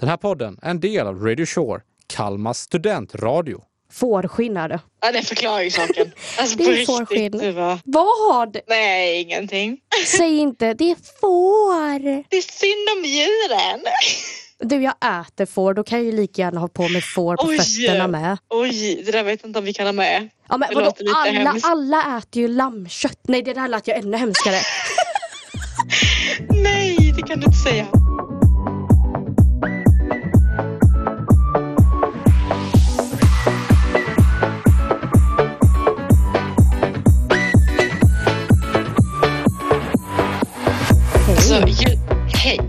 Den här podden är en del av Radio Shore, Kalmas studentradio. Fårskinnare. Ja, det förklarar ju saken. Alltså Det på är riktigt. fårskinn. Du bara, Vad har det? nej, ingenting. Säg inte det är får. Det är synd om djuren. Du, jag äter får. Då kan jag ju lika gärna ha på mig får på Oj. fötterna med. Oj, det där vet jag inte om vi kan ha med. Ja, men Det vadå? låter lite Alla, hemskt. alla äter ju lammkött. Nej, det där lät jag ännu hemskare. Nej, det kan du inte säga. Alltså, ju, hej.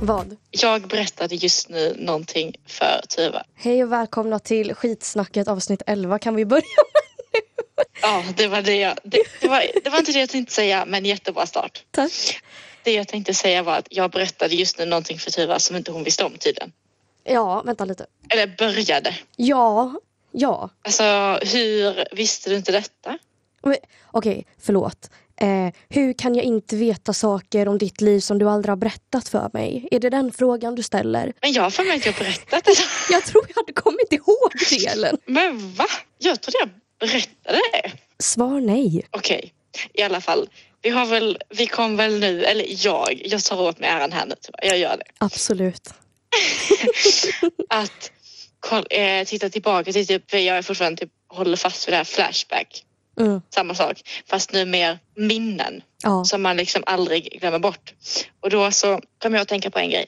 Vad? Jag berättade just nu någonting för Tuva. Hej och välkomna till skitsnacket avsnitt 11. Kan vi börja? Ja, det var det jag... Det, det, var, det var inte det jag tänkte säga, men jättebra start. Tack. Det jag tänkte säga var att jag berättade just nu någonting för Tuva som inte hon visste om tydligen. Ja, vänta lite. Eller började. Ja, ja. Alltså, hur visste du inte detta? Men, Okej, förlåt. Eh, hur kan jag inte veta saker om ditt liv som du aldrig har berättat för mig? Är det den frågan du ställer? Men jag har för mig att jag har berättat det. Jag tror jag hade kommit ihåg delen. Men va? Jag trodde jag berättade det. Svar nej. Okej, i alla fall. Vi har väl, vi kom väl nu, eller jag, jag tar åt mig äran här nu. Tuva. Jag gör det. Absolut. Att koll, eh, titta tillbaka till typ, för jag är fortfarande typ, håller fast vid det här Flashback. Mm. Samma sak, fast nu mer minnen. Ja. som man liksom aldrig glömmer bort. Och då så kom jag att tänka på en grej.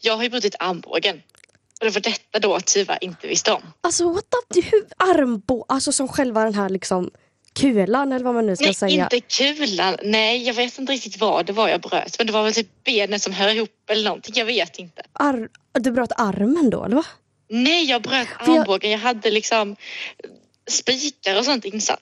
Jag har ju brutit armbågen. Och det var detta då Tuva inte visste om. Alltså what the... hur- Armbå... Alltså som själva den här liksom kulan eller vad man nu ska Nej, säga. inte kulan. Nej, jag vet inte riktigt vad det var jag bröt. Men det var väl typ benen som hör ihop eller någonting. Jag vet inte. Ar... Du bröt armen då eller va? Nej, jag bröt jag- armbågen. Jag hade liksom spikar och sånt insatt.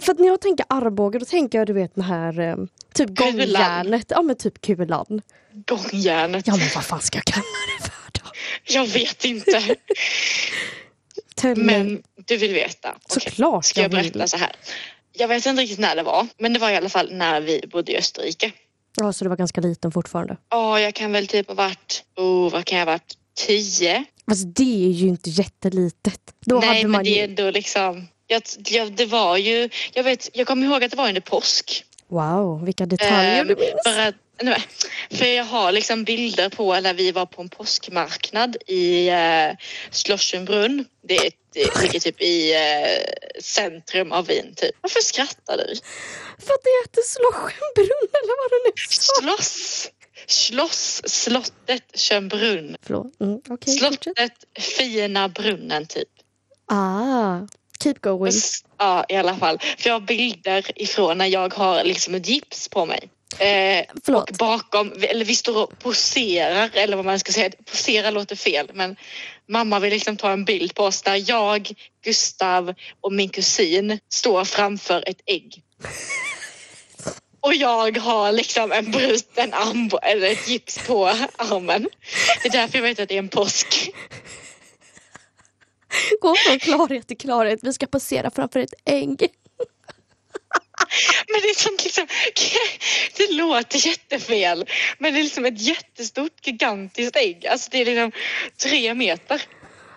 För att när jag tänker armbåge då tänker jag du vet den här eh, typ Kulan. gångjärnet. Ja men typ kulan. Gångjärnet. Ja men vad fan ska jag kalla det för då? Jag vet inte. Tell me. Men du vill veta. Okej. Såklart Ska jag jag vill. berätta så här. Jag vet inte riktigt när det var. Men det var i alla fall när vi bodde i Österrike. Ja så du var ganska liten fortfarande. Ja, jag kan väl typ ha varit, oh, vad kan jag ha varit, tio? Alltså det är ju inte jättelitet. Då Nej, hade men man det är ju... ändå liksom, jag, jag, det var ju, jag vet, jag kommer ihåg att det var under påsk. Wow, vilka detaljer Ehm, du minns. för, att, nej, men, för jag har liksom bilder på när vi var på en påskmarknad i eh, Schlossenbrunn. Det är ett, det ligger typ i eh, centrum av Wien typ. Varför skrattar du? För att det heter Slåsjenbrunn eller vad det nu sa. Schloss! Schloss, slottet, Schönbrunn. Förlåt. Mm, Okej, fortsätt. Slottet, fina brunnen typ. Ah, keep going. S- Ja, i alla fall. För jag har bilder ifrån när jag har liksom ett gips på mig. Eh, Förlåt. bakom, eller vi står och poserar, eller vad man ska säga. Posera låter fel, men mamma vill liksom ta en bild på oss där jag, Gustav och min kusin står framför ett ägg. Och jag har liksom en bruten arm, eller ett gips på armen. Det är därför jag vet att det är en påsk. Gå från klarhet till klarhet. Vi ska passera framför ett ägg. Men det är sånt liksom, det låter jättefel. Men det är liksom ett jättestort, gigantiskt ägg. Alltså det är liksom tre meter.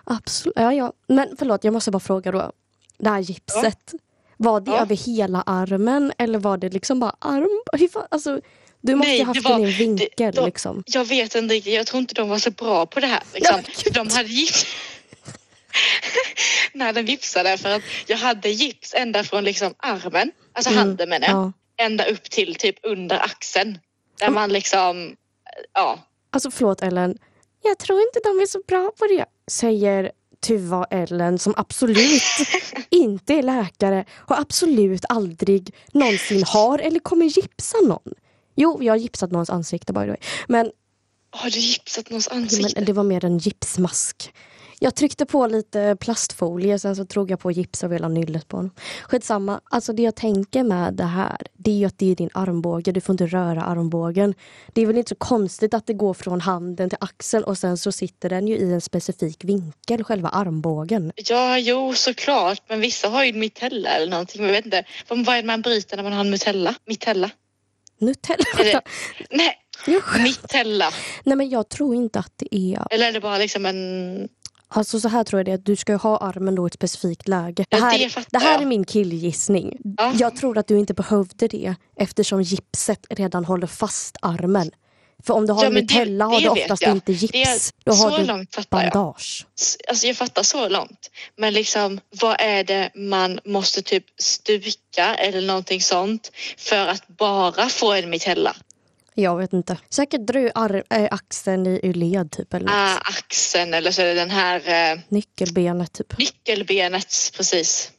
Absolut. Ja, ja. Men förlåt, jag måste bara fråga då. Det här gipset. Var det Ja. över hela armen eller var det liksom bara arm? Hur fan- Alltså, du måste Nej, ju haft det den i var- en vinkel det- de- liksom. Jag vet inte riktigt, jag tror inte de var så bra på det här. Liksom. Nej, men gud. de hade gips. När den vipsade för att jag hade gips ända från liksom armen, alltså handen menar jag, Mm, Ja. ända upp till typ under axeln. Där man liksom, ja. Alltså förlåt Ellen. Jag tror inte de är så bra på det. Säger Tuva och Ellen som absolut inte är läkare och absolut aldrig någonsin har eller kommer gipsa någon. Jo, jag har gipsat någons ansikte by the way. Men, Har du gipsat någons jo, ansikte? men det var mer en gipsmask. Jag tryckte på lite plastfolie sen så drog jag på gips över hela nyllet på honom. Skitsamma, alltså det jag tänker med det här det är ju att det är din armbåge, du får inte röra armbågen. Det är väl inte så konstigt att det går från handen till axeln och sen så sitter den ju i en specifik vinkel, själva armbågen. Ja, jo, såklart. Men vissa har ju en mitella eller någonting. Men jag vet inte. Vad vad är det man bryter när man har en mitella? Mitella? Nutella! Är det- Nej, Jo. Mitella. Nej men jag tror inte att det är... Eller är det bara liksom en... Alltså så här tror jag det är, att du ska ju ha armen då i ett specifikt läge. Det Ja, här, det fattar det här jag. är min killgissning. Ja. Jag tror att du inte behövde det eftersom gipset redan håller fast armen. För om du har Ja, en men det- mitella har det du vet oftast jag. inte Det är, gips. Då har så du långt fattar jag. bandage. S- Alltså jag fattar så långt. Men liksom, vad är det man måste typ stuka eller någonting sånt för att bara få en mitella? Jag vet inte. Säkert drar ju ar- äh, axeln i ur led typ eller Ah, något. axeln eller så är det den här eh, Nyckelbenet typ. nyckelbenet, precis.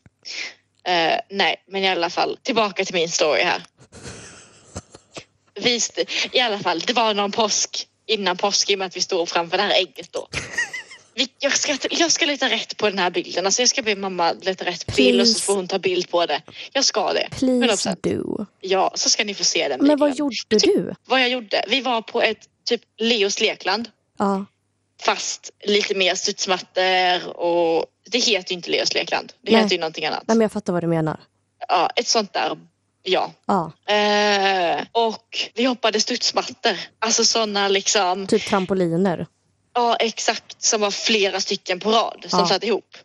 Eh, nej, men i alla fall tillbaka till min story här. Visst, I alla fall, det var någon påsk innan påsk i och med att vi stod framför det här ägget då. Vi- Jag ska, jag ska leta rätt på den här bilden. Alltså jag ska be mamma leta rätt på bild och så Please. får hon ta bild på det. Jag ska det. Please 100%. do. Ja, så ska ni få se den Men bilden. Typ, vad gjorde du? Vad jag gjorde? Vi var på ett typ Leos lekland Ja. fast lite mer studsmattor och det heter ju inte Leos lekland. Det Nej. heter ju någonting annat. Nej men jag fattar vad du menar. Ja, ett sånt där, ja. Ja. Eh, och vi hoppade studsmattor. Alltså sådana liksom, Typ trampoliner. ja exakt, som var flera stycken på rad som Ja. satt ihop.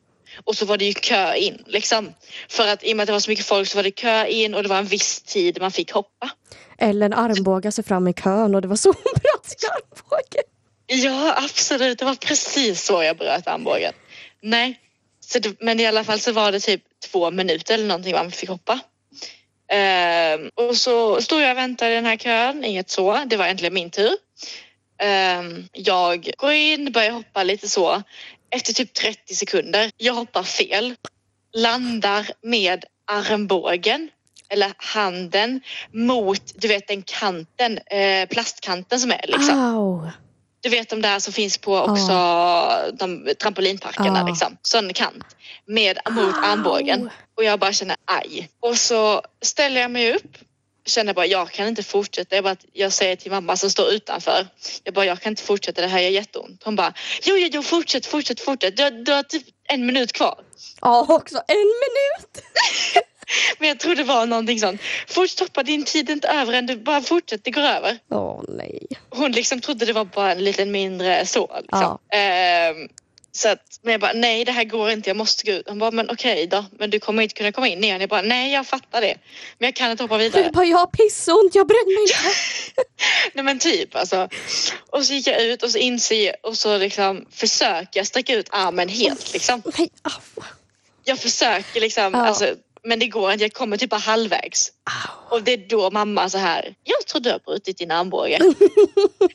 Och så var det ju kö in liksom. För att i och med att det var så mycket folk så var det kö in och det var en viss tid man fick hoppa. Eller en armbåge sig fram i kön och det var så hon bröt sin armbåge. Ja, absolut. Det var precis så jag bröt armbågen. Nej, så det, men i alla fall så var det typ två minuter eller någonting man fick hoppa. Ehm, och så stod jag och väntade i den här kön, inget så. Det var äntligen min tur. Ehm, jag går in, börjar hoppa lite så. Efter typ 30 sekunder, jag hoppar fel. Landar med armbågen, eller handen, mot du vet den kanten, eh, plastkanten som är liksom. Au! Du vet de där som finns på också de trampolinparkerna Ja. liksom. Sån kant. Med mot Au. armbågen. Och jag bara känner aj. Och så ställer jag mig upp. Känner bara jag kan inte fortsätta. Jag, bara, jag säger till mamma som står utanför. Jag bara jag kan inte fortsätta det här gör jätteont. Hon bara jo jo jo fortsätt fortsätt fortsätt. Du, har- du har typ en minut kvar. Ja, också en minut! Men jag tror det var någonting sånt. Fortsätt hoppa din tid är inte över än. Du bara fortsätt det går över. Åh nej. hon liksom trodde det var bara en liten mindre så. Liksom. Ehm, så att, men jag bara, nej det här går inte, jag måste gå ut. Hon bara, men okej då, men du kommer inte kunna komma in igen. Jag bara, nej jag fattar det. Men jag kan inte hoppa Du vidare. bara, jag har pissont, jag bränner mig inte. nej men typ alltså. Och så gick jag ut och så inser jag- och så liksom försöker jag sträcka ut armen helt liksom. Nej, au. Jag försöker liksom, Ja. alltså, men det går inte, jag kommer typ bara halvvägs. Au. Och det är då mamma så här, jag tror du har brutit din armbåge.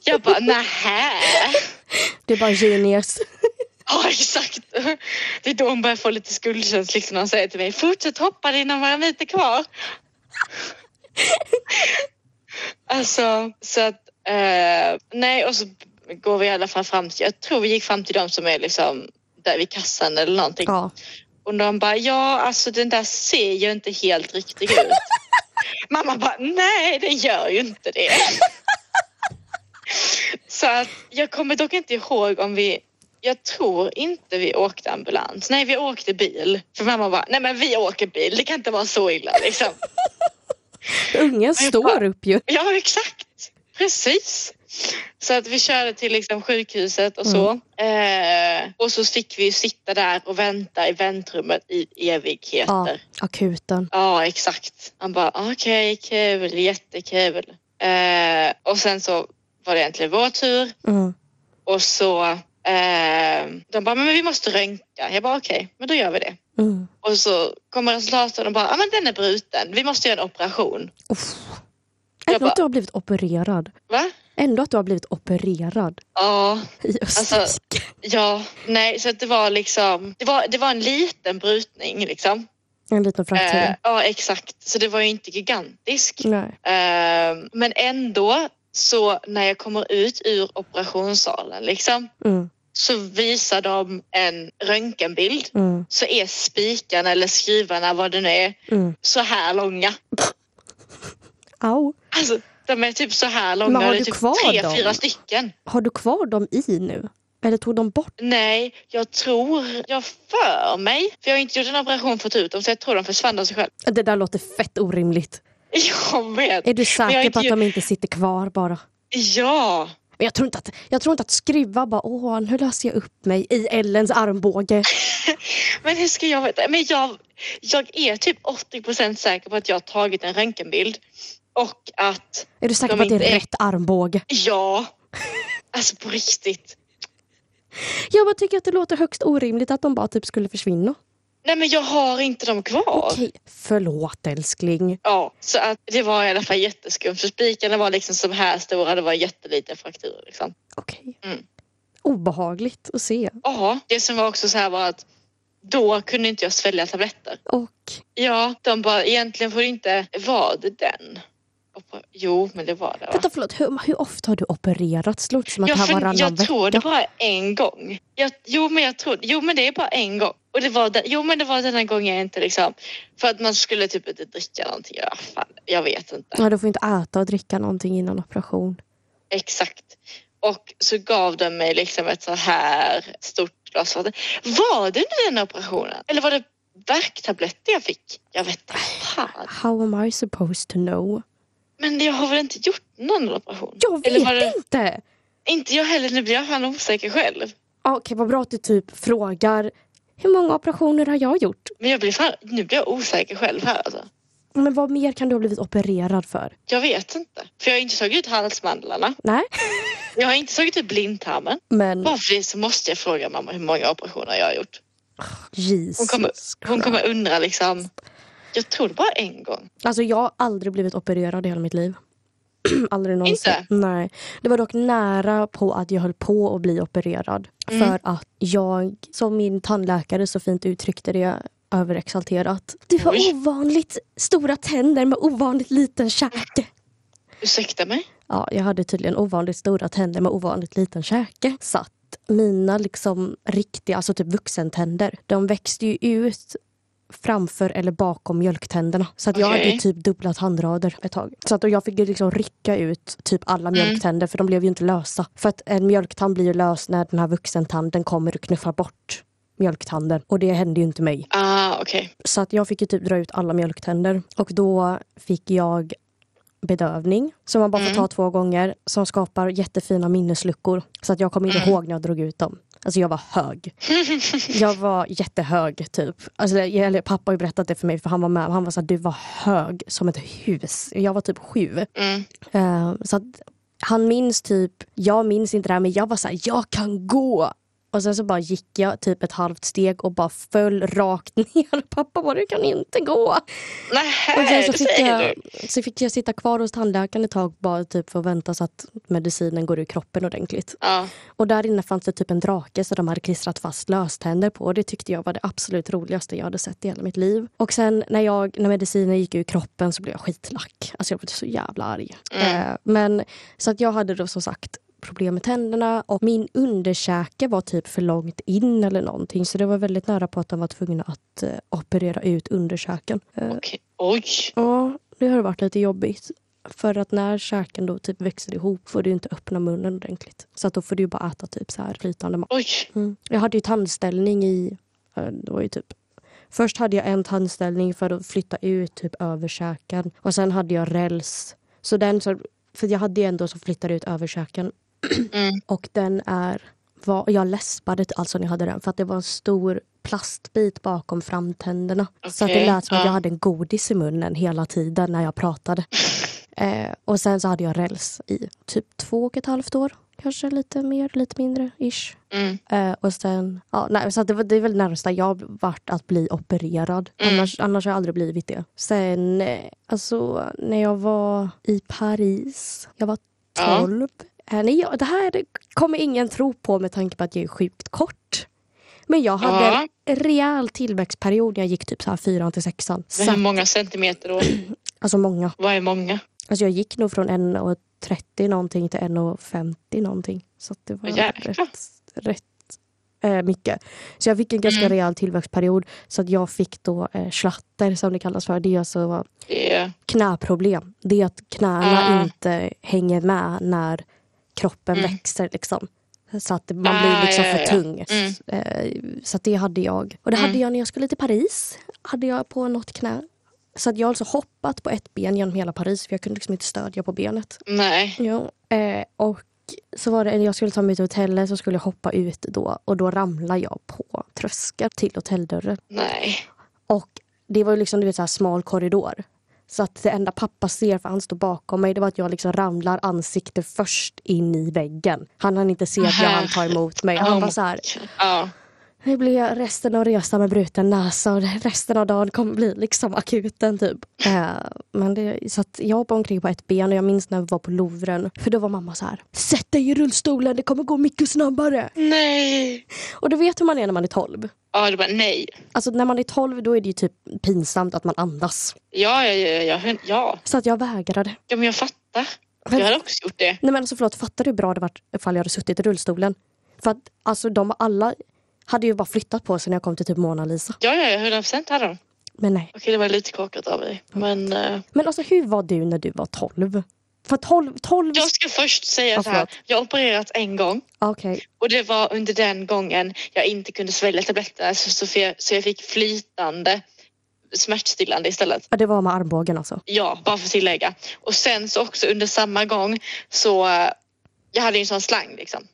jag bara, nähä. Du är bara genius. Ja, exakt. Det är då hon börjar få lite skuldkänsla liksom när hon säger till mig fortsätt hoppa det är några minuter kvar. alltså, så att eh, nej, och så går vi i alla fall fram till, jag tror vi gick fram till dem som är liksom där vid kassan eller någonting. Ja. Och de bara, ja alltså den där ser ju inte helt riktig ut. Mamma bara, nej den gör ju inte det. Så att jag kommer dock inte ihåg om vi, jag tror inte vi åkte ambulans. Nej vi åkte bil. För mamma bara, nej men vi åker bil, det kan inte vara så illa liksom. Ungen står upp ju. Ja, exakt. Precis. Så att vi körde till liksom sjukhuset och så. Eh, och så fick vi ju sitta där och vänta i väntrummet i evigheter. Ja, Ja, akuten. exakt. Han bara "Ah, okej, kul, jättekul. Eh, och sen så var det egentligen vår tur Mm. och så eh, de bara men vi måste röntga. Jag bara okej, men då gör vi det. Mm. Och så kommer resultaten och bara ja men den är bruten. Vi måste göra en operation. Uff. Jag Ändå att bara- du har blivit opererad. Va? Ändå att du har blivit opererad Ja, i Österrike. Ja, nej, så att det var liksom, det var, det var en liten brutning liksom. en liten fraktur. Eh, ja, exakt. Så det var ju inte gigantisk. Nej. Eh, men ändå, så när jag kommer ut ur operationssalen liksom, Mm. så visar de en röntgenbild. Mm. Så är spikarna eller skruvarna, vad det nu är, Mm. så här långa. Au. Alltså, de är typ så här Men långa. har och det är du typ kvar tre, dem? fyra stycken. Har du kvar dem i nu? Eller tog de bort? Nej, jag tror, jag för mig, för jag har inte gjort en operation för att ta ut dem så jag tror de försvann av sig själv. Det där låter fett orimligt. Jag vet. Är du jag säker är på att inte- de inte sitter kvar bara? Ja, Men jag tror inte att, jag tror inte att skruva bara åh nu löser jag upp mig i Ellens armbåge. men hur ska jag veta? Men jag, jag är typ 80 säker på att jag har tagit en röntgenbild och att Är du säker De på att det inte är är- rätt armbåge? ja, alltså på riktigt. Jag bara tycker att det låter högst orimligt att de bara typ skulle försvinna. Nej, men jag har inte dem kvar. Okej, förlåt älskling. Ja, så att det var i alla fall jätteskumt. För spikarna var liksom som här stora, det var jätteliten fraktur. Liksom. Okej. Mm. Obehagligt att se. Ja, det som var också så här var att då kunde inte jag svälja tabletter. Och Ja, de bara egentligen får det inte, var det den? Och bara, jo, men det var det. Va? vänta förlåt, hur, hur ofta har du opererats? Låter som att Jag, det här var fun- varannan jag tror det vecka. bara en gång. Jag, jo, men jag tror, jo, men det är bara en gång. Och det var den, jo, men det var denna gången jag inte liksom, för att man skulle typ inte dricka någonting. Ja, fan, jag vet inte. Ja, du får inte äta och dricka någonting innan operation. Exakt. Och så gav de mig liksom ett så här stort glas vatten. Var det under den operationen? Eller var det värktabletter jag fick? Jag vet inte. Fan. How am I supposed to know? Men jag har väl inte gjort någon operation? Jag vet Eller var det... inte! Inte jag heller. Nu blir jag fan osäker själv. Ja, Okej, vad bra att du typ frågar hur många operationer har jag gjort? Men jag blir fan... nu blir jag osäker själv här alltså. Men vad mer kan du ha blivit opererad för? Jag vet inte. För jag har inte tagit ut halsmandlarna. Nej, Jag har inte tagit ut blindtarmen. men Bara för det så måste jag fråga mamma hur många operationer jag har gjort. Jesus Hon kommer, hon Christ. kommer undra liksom. Jag tror det bara en gång. Alltså jag har aldrig blivit opererad i hela mitt liv. aldrig någonsin. Inte? Nej. Det var dock nära på att jag höll på att bli opererad. Mm. För att jag, som min tandläkare så fint uttryckte det, överexalterat. Du har Oj. ovanligt stora tänder med ovanligt liten käke. Ursäkta mig? Ja, jag hade tydligen ovanligt stora tänder med ovanligt liten käke. Så att mina liksom riktiga, alltså typ vuxentänder, de växte ju ut framför eller bakom mjölktänderna. Så att jag Okej. hade ju typ dubbla tandrader ett tag. Så att och jag fick ju liksom rycka ut typ alla mjölktänder för de blev ju inte lösa. För att en mjölktand blir ju lös när den här vuxentanden kommer och knuffar bort mjölktanden. Och det hände ju inte mig. Ah, okej. Så att jag fick ju typ dra ut alla mjölktänder och då fick jag bedövning som man bara får ta två gånger som skapar jättefina minnesluckor. Så att jag kommer inte ihåg när jag drog ut dem. Alltså jag var hög. Jag var jättehög typ. Alltså, det- eller, pappa har ju berättat det för mig för han var med. Han var så här, du var hög som ett hus. Jag var typ sju. Mm. Eh, så att han minns typ, jag minns inte det här men jag var så här, jag kan gå. Och sen så bara gick jag typ ett halvt steg och bara föll rakt ner. Pappa bara, du kan inte gå. Och sen Nej, så det fick, säger jag, du. så fick jag sitta kvar hos tandläkaren ett tag bara typ för att vänta så att medicinen går ur kroppen ordentligt. Ja. Och där inne fanns det typ en drake som de hade klistrat fast löständer på. Det tyckte jag var det absolut roligaste jag hade sett i hela mitt liv. Och sen när, jag, när medicinen gick ur kroppen så blev jag skitlack. Alltså jag blev så jävla arg. Mm. Eh, men, så att jag hade då som sagt problem med tänderna och min underkäke var typ för långt in eller någonting så det var väldigt nära på att de var tvungna att eh, operera ut underkäken. Eh, Okej. Oj. Ja, det har varit lite jobbigt. För att när käken då typ växer ihop får du inte öppna munnen ordentligt. Så att då får du ju bara äta typ så här flytande mat. Oj. Mm. Jag hade ju tandställning i... eh, Det var ju typ... Först hade jag en tandställning för att flytta ut typ över käken. Och sen hade jag räls. Så den så, för jag hade ju en då som flyttade ut över käken. Mm. Och den är... Var, jag läspade alltså när jag hade den för att det var en stor plastbit bakom framtänderna. Så att det Okej, lät som att ja. jag hade en godis i munnen hela tiden när jag pratade. Eh, och sen så hade jag räls i typ två och ett halvt år. Kanske lite mer, lite mindre ish. Mm. Eh, och sen, ja, nej, så att det, var, det är väl närmsta jag varit att bli opererad. Mm. Annars, annars har jag aldrig blivit det. Sen, eh, alltså när jag var i Paris, jag var Ja. 12. Eh, nej, jag, det här kommer ingen tro på med tanke på att jag är sjukt kort. Men jag hade Ja. en rejäl tillväxtperiod när jag gick typ så här fyran till sexan. Men hur Så, många centimeter då? alltså många. Vad är många? Alltså jag gick nog från 1,30 någonting till 1,50 någonting. Så att det var Åh, jäklar. rätt, rätt eh, mycket. Så jag fick en Mm. ganska rejäl tillväxtperiod. Så att jag fick då eh, slatter som det kallas för. Det är alltså Det är... knäproblem. Det är att knäna Ah. inte hänger med när kroppen växer. Liksom. Så att man blir Mm. Ah, liksom ja, för ja, Mm. ja. tung. S- eh, Så att det hade jag. Och det hade jag när jag skulle till Paris. Hade jag på något knä. Så att jag har alltså hoppat på ett ben genom hela Paris för jag kunde liksom inte stödja på benet. Nej. Jo, eh, och så var det, eller jag skulle ta mig till hotellet så skulle jag hoppa ut då och då ramlade jag på tröskeln till hotelldörren. Nej. Och det var ju liksom du vet, så här smal korridor. Så att det enda pappa ser, för han står bakom mig, det var att jag liksom ramlar ansikte först in i väggen. Han hann inte se att jag hann ta emot mig. Han var så här, Ja. det blir resten av resan med bruten näsa och resten av dagen kommer bli liksom akuten typ. Eh, men det, så att jag hoppade omkring på ett ben och jag minns när vi var på Louvren. För då var mamma så här, sätt dig i rullstolen, det kommer gå mycket snabbare. Nej. Och du vet hur man är när man är 12. Ja, du bara nej. Alltså när man är 12 då är det ju typ pinsamt att man andas. Ja, ja, ja, ja, ja. Så att jag vägrade. ja men jag fattar. Men- Jag hade också gjort det. Nej men alltså förlåt, fattar du hur bra det var ifall jag hade suttit i rullstolen? För att alltså de alla hade ju bara flyttat på sig när jag kom till typ Mona Lisa. Ja, ja, ja, 100 procent hade de. Men nej. Okej, det var lite korkat av mig. Men eh, Men alltså hur var du när du var 12? För 12, 12... jag ska först säga Ja, så här. förlåt. Jag har opererats en gång. Ah, Okej. Och det var under den gången jag inte kunde svälja tabletterna så, så, jag, så jag fick flytande smärtstillande istället. Ja, det var med armbågen alltså. Ja, bara för att tillägga. Och sen så också under samma gång så eh, jag hade ju en sån slang liksom.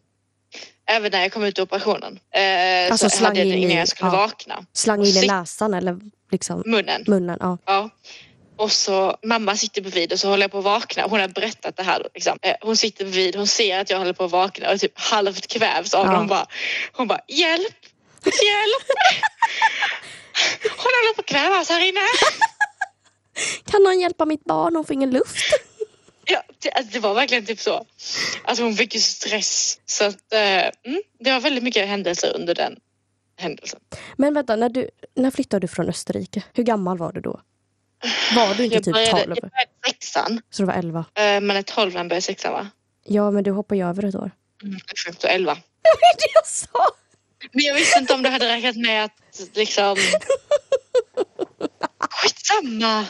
Även när jag kom ut ur operationen. Eh, Alltså, så slang hade jag det in i- innan jag skulle ja. vakna. Slang in i Sitt- näsan eller liksom Munnen. munnen. Ja. Ja. Och så mamma sitter bredvid och så håller jag på att vakna. Hon har berättat det här. då, Liksom. Eh, Hon sitter bredvid, hon ser att jag håller på att vakna och typ halvt kvävs av Ja. det. Hon bara, hon bara hjälp, hjälp. hon håller på att kvävas här inne. Kan någon hjälpa mitt barn? Hon får ingen luft. Ja, det, alltså, det var verkligen typ så. Alltså hon fick ju stress. Så att, eh, mm, det var väldigt mycket händelser under den händelsen. Men vänta, när, du, när flyttade du från Österrike? Hur gammal var du då? Var du inte Jag typ började, 12? jag började sexan, Så du var 11? eh, men är 12 när jag började sexan va? Ja, men du hoppade ju över ett år. Mm, exakt, och 11. Det är det jag sa! Men jag visste inte om du hade räknat med att liksom... Skitsamma!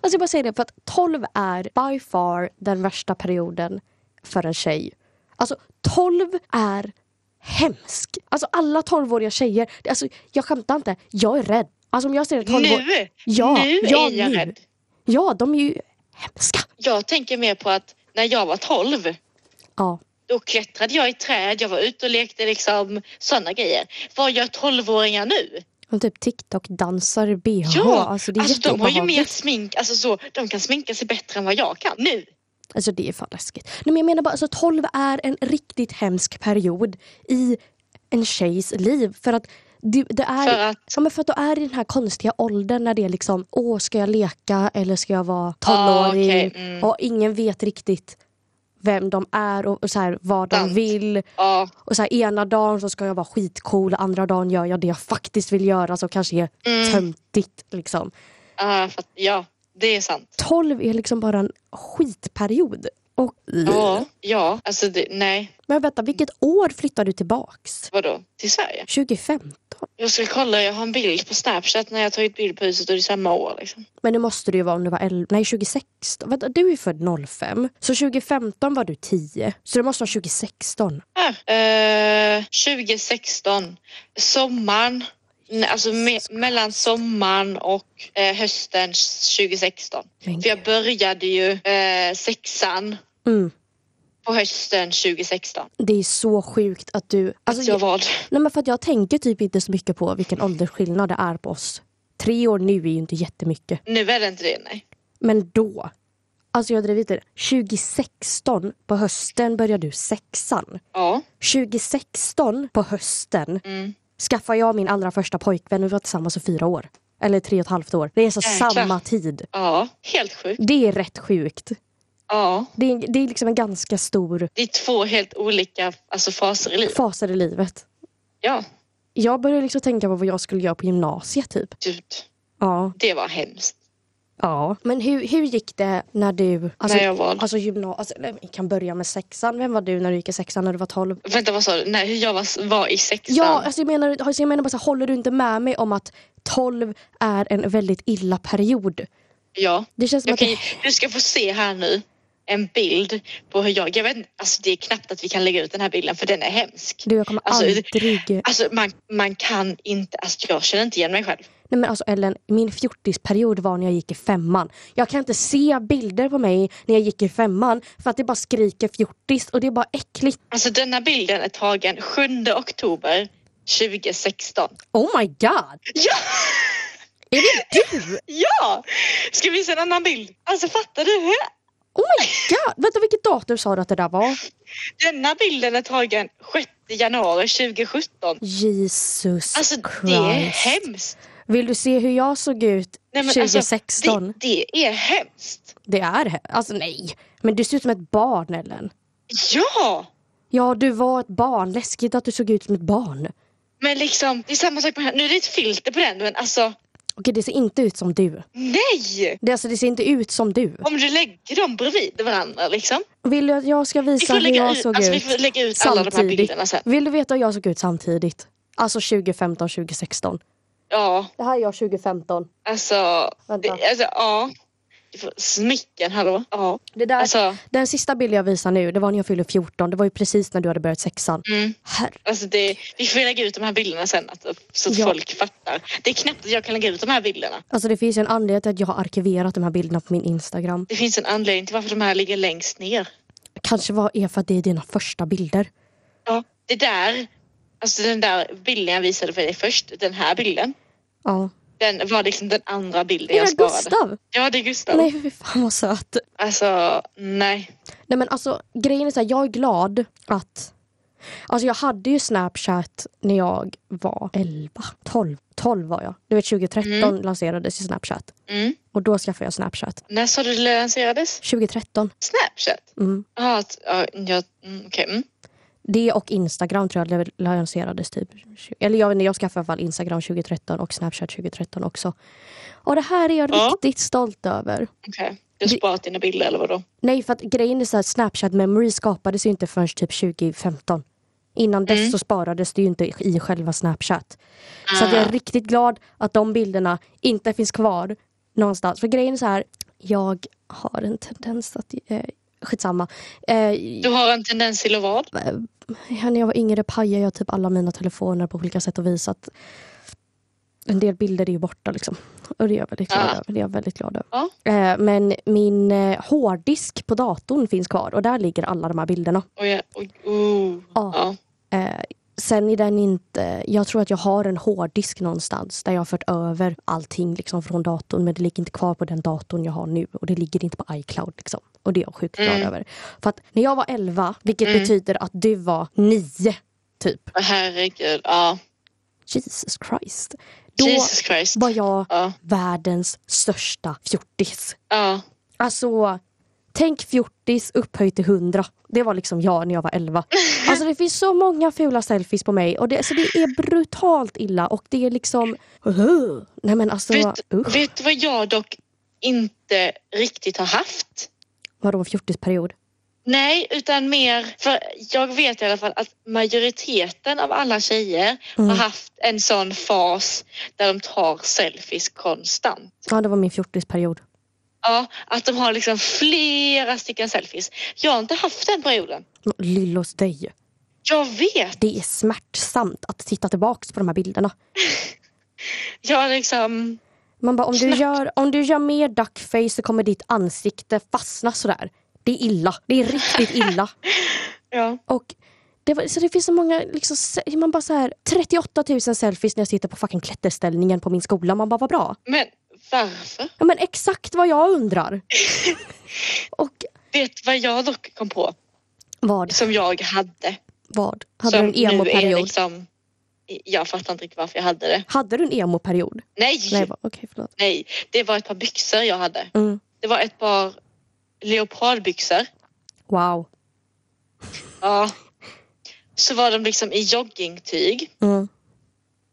Alltså jag bara säger det för att 12 är by far den värsta perioden för en tjej. Alltså 12 är hemsk. Alltså alla 12-åriga tjejer, alltså jag skämtar inte, jag är rädd. Alltså om jag ser en 12 Nu! Ja, nu ja, är jag nu. rädd. Ja, de är ju hemska. Jag tänker mer på att när jag var 12 Ja. då klättrade jag i träd, jag var ute och lekte liksom sådana grejer. Vad gör 12-åringar nu? De typ TikTok-dansar i bh. Ja, alltså det är alltså de har ju mer jätteobehagligt. smink, alltså så, de kan sminka sig bättre än vad jag kan nu. Alltså det är fan läskigt. Nej, men jag menar bara, alltså 12 är en riktigt hemsk period i en tjejs liv. För att du, det är... För att, Ja, men för att då är det den här konstiga åldern när det är liksom, åh ska jag leka eller ska jag vara Ah, tonåring? okej, mm. Och ingen vet riktigt vem de är och, och så här, vad Sant. de vill. ja, Och så här, ena dagen så ska jag vara skitcool, andra dagen gör jag det jag faktiskt vill göra som kanske är Mm. töntigt. Liksom. ja, ah, för att, ja, det är sant. 12 är liksom bara en skitperiod. Och, Ja, ja, alltså det, nej, Men vänta, vilket år flyttade du tillbaks? vadå, till Sverige? 2015? Jag ska kolla, jag har en bild på Snapchat när jag tagit bild på huset och det är samma år liksom. Men det måste du ju vara om du var 11, nej 2016. Vänta, du är ju född 05. Så 2015 var du 10. Så det måste vara 2016. Här, eh, 2016, sommaren, nej, alltså me, mellan sommaren och eh, hösten 2016. Men, För jag började ju eh, sexan mm, på hösten 2016. det är så sjukt att du... Alltså, Så jag jag, var nej, men för att jag tänker typ inte så mycket på vilken åldersskillnad det är på oss. Tre år nu är ju inte jättemycket. Nu är det inte det, nej. Men då. Alltså jag driver inte. 2016 på hösten började du sexan. Ja. 2016 på hösten Mm. skaffade jag min allra första pojkvän. Vi var tillsammans i fyra år. Eller tre och ett halvt år. Det är så Jäklar. samma tid. Ja, helt sjukt. Det är rätt sjukt. Ja. Det är, det är liksom en ganska stor Det är två helt olika alltså, faser i livet. faser i livet. Ja, Jag började liksom tänka på vad jag skulle göra på gymnasiet typ. gud. Ja. Det var hemskt. ja. Men hur, hur gick det när du... Alltså, när jag var... alltså gymnasiet... Alltså, nej, vi kan börja med sexan. Vem var du när du gick i sexan när du var tolv? Vänta, vad sa du? Nej, hur jag var, var i sexan? Ja, alltså jag menar, alltså jag menar bara så här, håller du inte med mig om att 12 är en väldigt illa period? ja. alltså, Det känns som Jag att... kan, det- du ska få se här nu en bild på hur jag... jag vet, inte- alltså, det är knappt att vi kan lägga ut den här bilden för den är hemsk. Du, jag kommer Alltså, det- aldrig... Alltså man, man kan inte, alltså jag känner inte igen mig själv. Nej, Nej men alltså Ellen, min fjortisperiod var när jag gick i femman. Jag kan inte se bilder på mig när jag gick i femman för att det bara skriker fjortis och det är bara äckligt. Alltså denna bilden är tagen 7 oktober 2016. Oh my god! Ja! Är det du? Ja! Ska vi visa en annan bild? Alltså fattar du? Oh my god! Vänta vilket datum sa du att det där var? Denna bilden är tagen 6 januari 2017. Jesus Alltså Christ. det är hemskt. Vill du se hur jag såg ut Nej, men alltså, 2016? Det, det är hemskt. det... är he- Alltså nej. Men du ser ut som ett barn Ellen. Ja! Ja, du var ett barn. Läskigt att du såg ut som ett barn. Men liksom, det är samma sak med den här. Nu är det ett filter på den men alltså Okej, det ser inte ut som du. nej! Det, alltså, det ser inte ut som du. Om du lägger dem bredvid varandra liksom. Vill du att jag ska Vi visa får hur lägga jag ut, såg alltså, vi ut får lägga ut alla de här samtidigt? bilderna sen. Vill du veta hur jag såg ut samtidigt? Alltså 2015, 2016. Ja, Det här är jag 2015. alltså. Det, Vänta. alltså ja. Du får- Smicken, hallå? Ja. Det där, Alltså, Den sista bilden jag visar nu, det var när jag fyllde 14. Det var ju precis när du hade börjat sexan. mm. Herre. Alltså det, vi får lägga ut de här bilderna sen alltså, så att Ja. folk fattar. Det är knappt att jag kan lägga ut de här bilderna. Alltså det finns ju en anledning till att jag har arkiverat de här bilderna på min Instagram. Det finns en anledning till varför de här ligger längst ner. Kanske var är för att det är dina första bilder. Ja, det där, alltså den där bilden jag visade för dig först, den här bilden. Ja. Den var liksom den andra bilden Är jag det sparade. Gustav? Ja, det är Gustav. Nej, fy fan vad söt. Alltså, nej. Nej men alltså grejen är så här, jag är glad att Alltså jag hade ju Snapchat när jag var 11, 12, 12 var jag. Du vet 2013 lanserades ju Snapchat Mm. och då skaffade jag Snapchat. När sa du det lanserades? 2013. Snapchat? Mm. Ja, att- ja, ja mm, okej. Mm. Det och Instagram tror jag lanserades typ. Eller jag vet inte, jag skaffade i alla fall Instagram 2013 och Snapchat 2013 också. Och det här är jag Ja. riktigt stolt över. Okej. Du har sparat dina bilder eller vadå? Nej, för att grejen är så att Snapchat Memory skapades ju inte förrän typ 2015. Innan dess så sparades det ju inte i själva Snapchat. Så att jag är riktigt glad att de bilderna inte finns kvar någonstans. För grejen är så här, jag har en tendens att... Eh, skitsamma. Eh, Du har en tendens till att vad? när jag var yngre pajade jag typ alla mina telefoner på olika sätt och vis. Att en del bilder är ju borta liksom. Och det är jag väldigt glad Ah. över. Det är jag väldigt glad över. Ja. Eh, Men min eh, hårddisk på datorn finns kvar och där ligger alla de här bilderna. Och jag, och, oh. Ja. ja. Eh, Sen är den inte... Jag tror att jag har en hårddisk någonstans där jag har fört över allting liksom från datorn men det ligger inte kvar på den datorn jag har nu och det ligger inte på iCloud. Liksom. Och det är jag sjukt glad över. För att när jag var 11, vilket betyder att du var 9 typ. Åh, Herregud. Ja. Jesus Christ. Då Jesus Christ. var jag Ja. världens största fjortis. Ja. Alltså, tänk fjortis upphöjt till 100. Det var liksom jag när jag var 11. Alltså det finns så många fula selfies på mig. Och det, alltså, det är brutalt illa och det är liksom... Nej men alltså, Vet, usch. vet du vad jag dock inte riktigt har haft? Vadå fjortisperiod? Nej, utan mer för jag vet i alla fall att majoriteten av alla tjejer Mm. har haft en sån fas där de tar selfies konstant. Ja, det var min fjortisperiod. Ja, att de har liksom flera stycken selfies. Jag har inte haft den perioden. Lillos dig. Jag vet. Det är smärtsamt att titta tillbaks på de här bilderna. Jag liksom... Man bara, om du, gör, om du gör mer duckface så kommer ditt ansikte fastna sådär. Det är illa. Det är riktigt illa. Ja. Och det, var, så det finns så många, liksom, se- man bara så här, 38 000 selfies när jag sitter på fucking klätterställningen på min skola. Man bara, vad bra. Men varför? Ja men exakt vad jag undrar. och Vet du vad jag dock kom på? vad, Som jag hade. vad? Hade du en som nu är emo-period? liksom... Jag fattar inte riktigt varför jag hade det. Hade du en emo-period? Nej! Nej, va- okej förlåt. Nej, det var ett par byxor jag hade. Mm. Det var ett par leopardbyxor. Wow. Ja. Så var de liksom i joggingtyg Mm.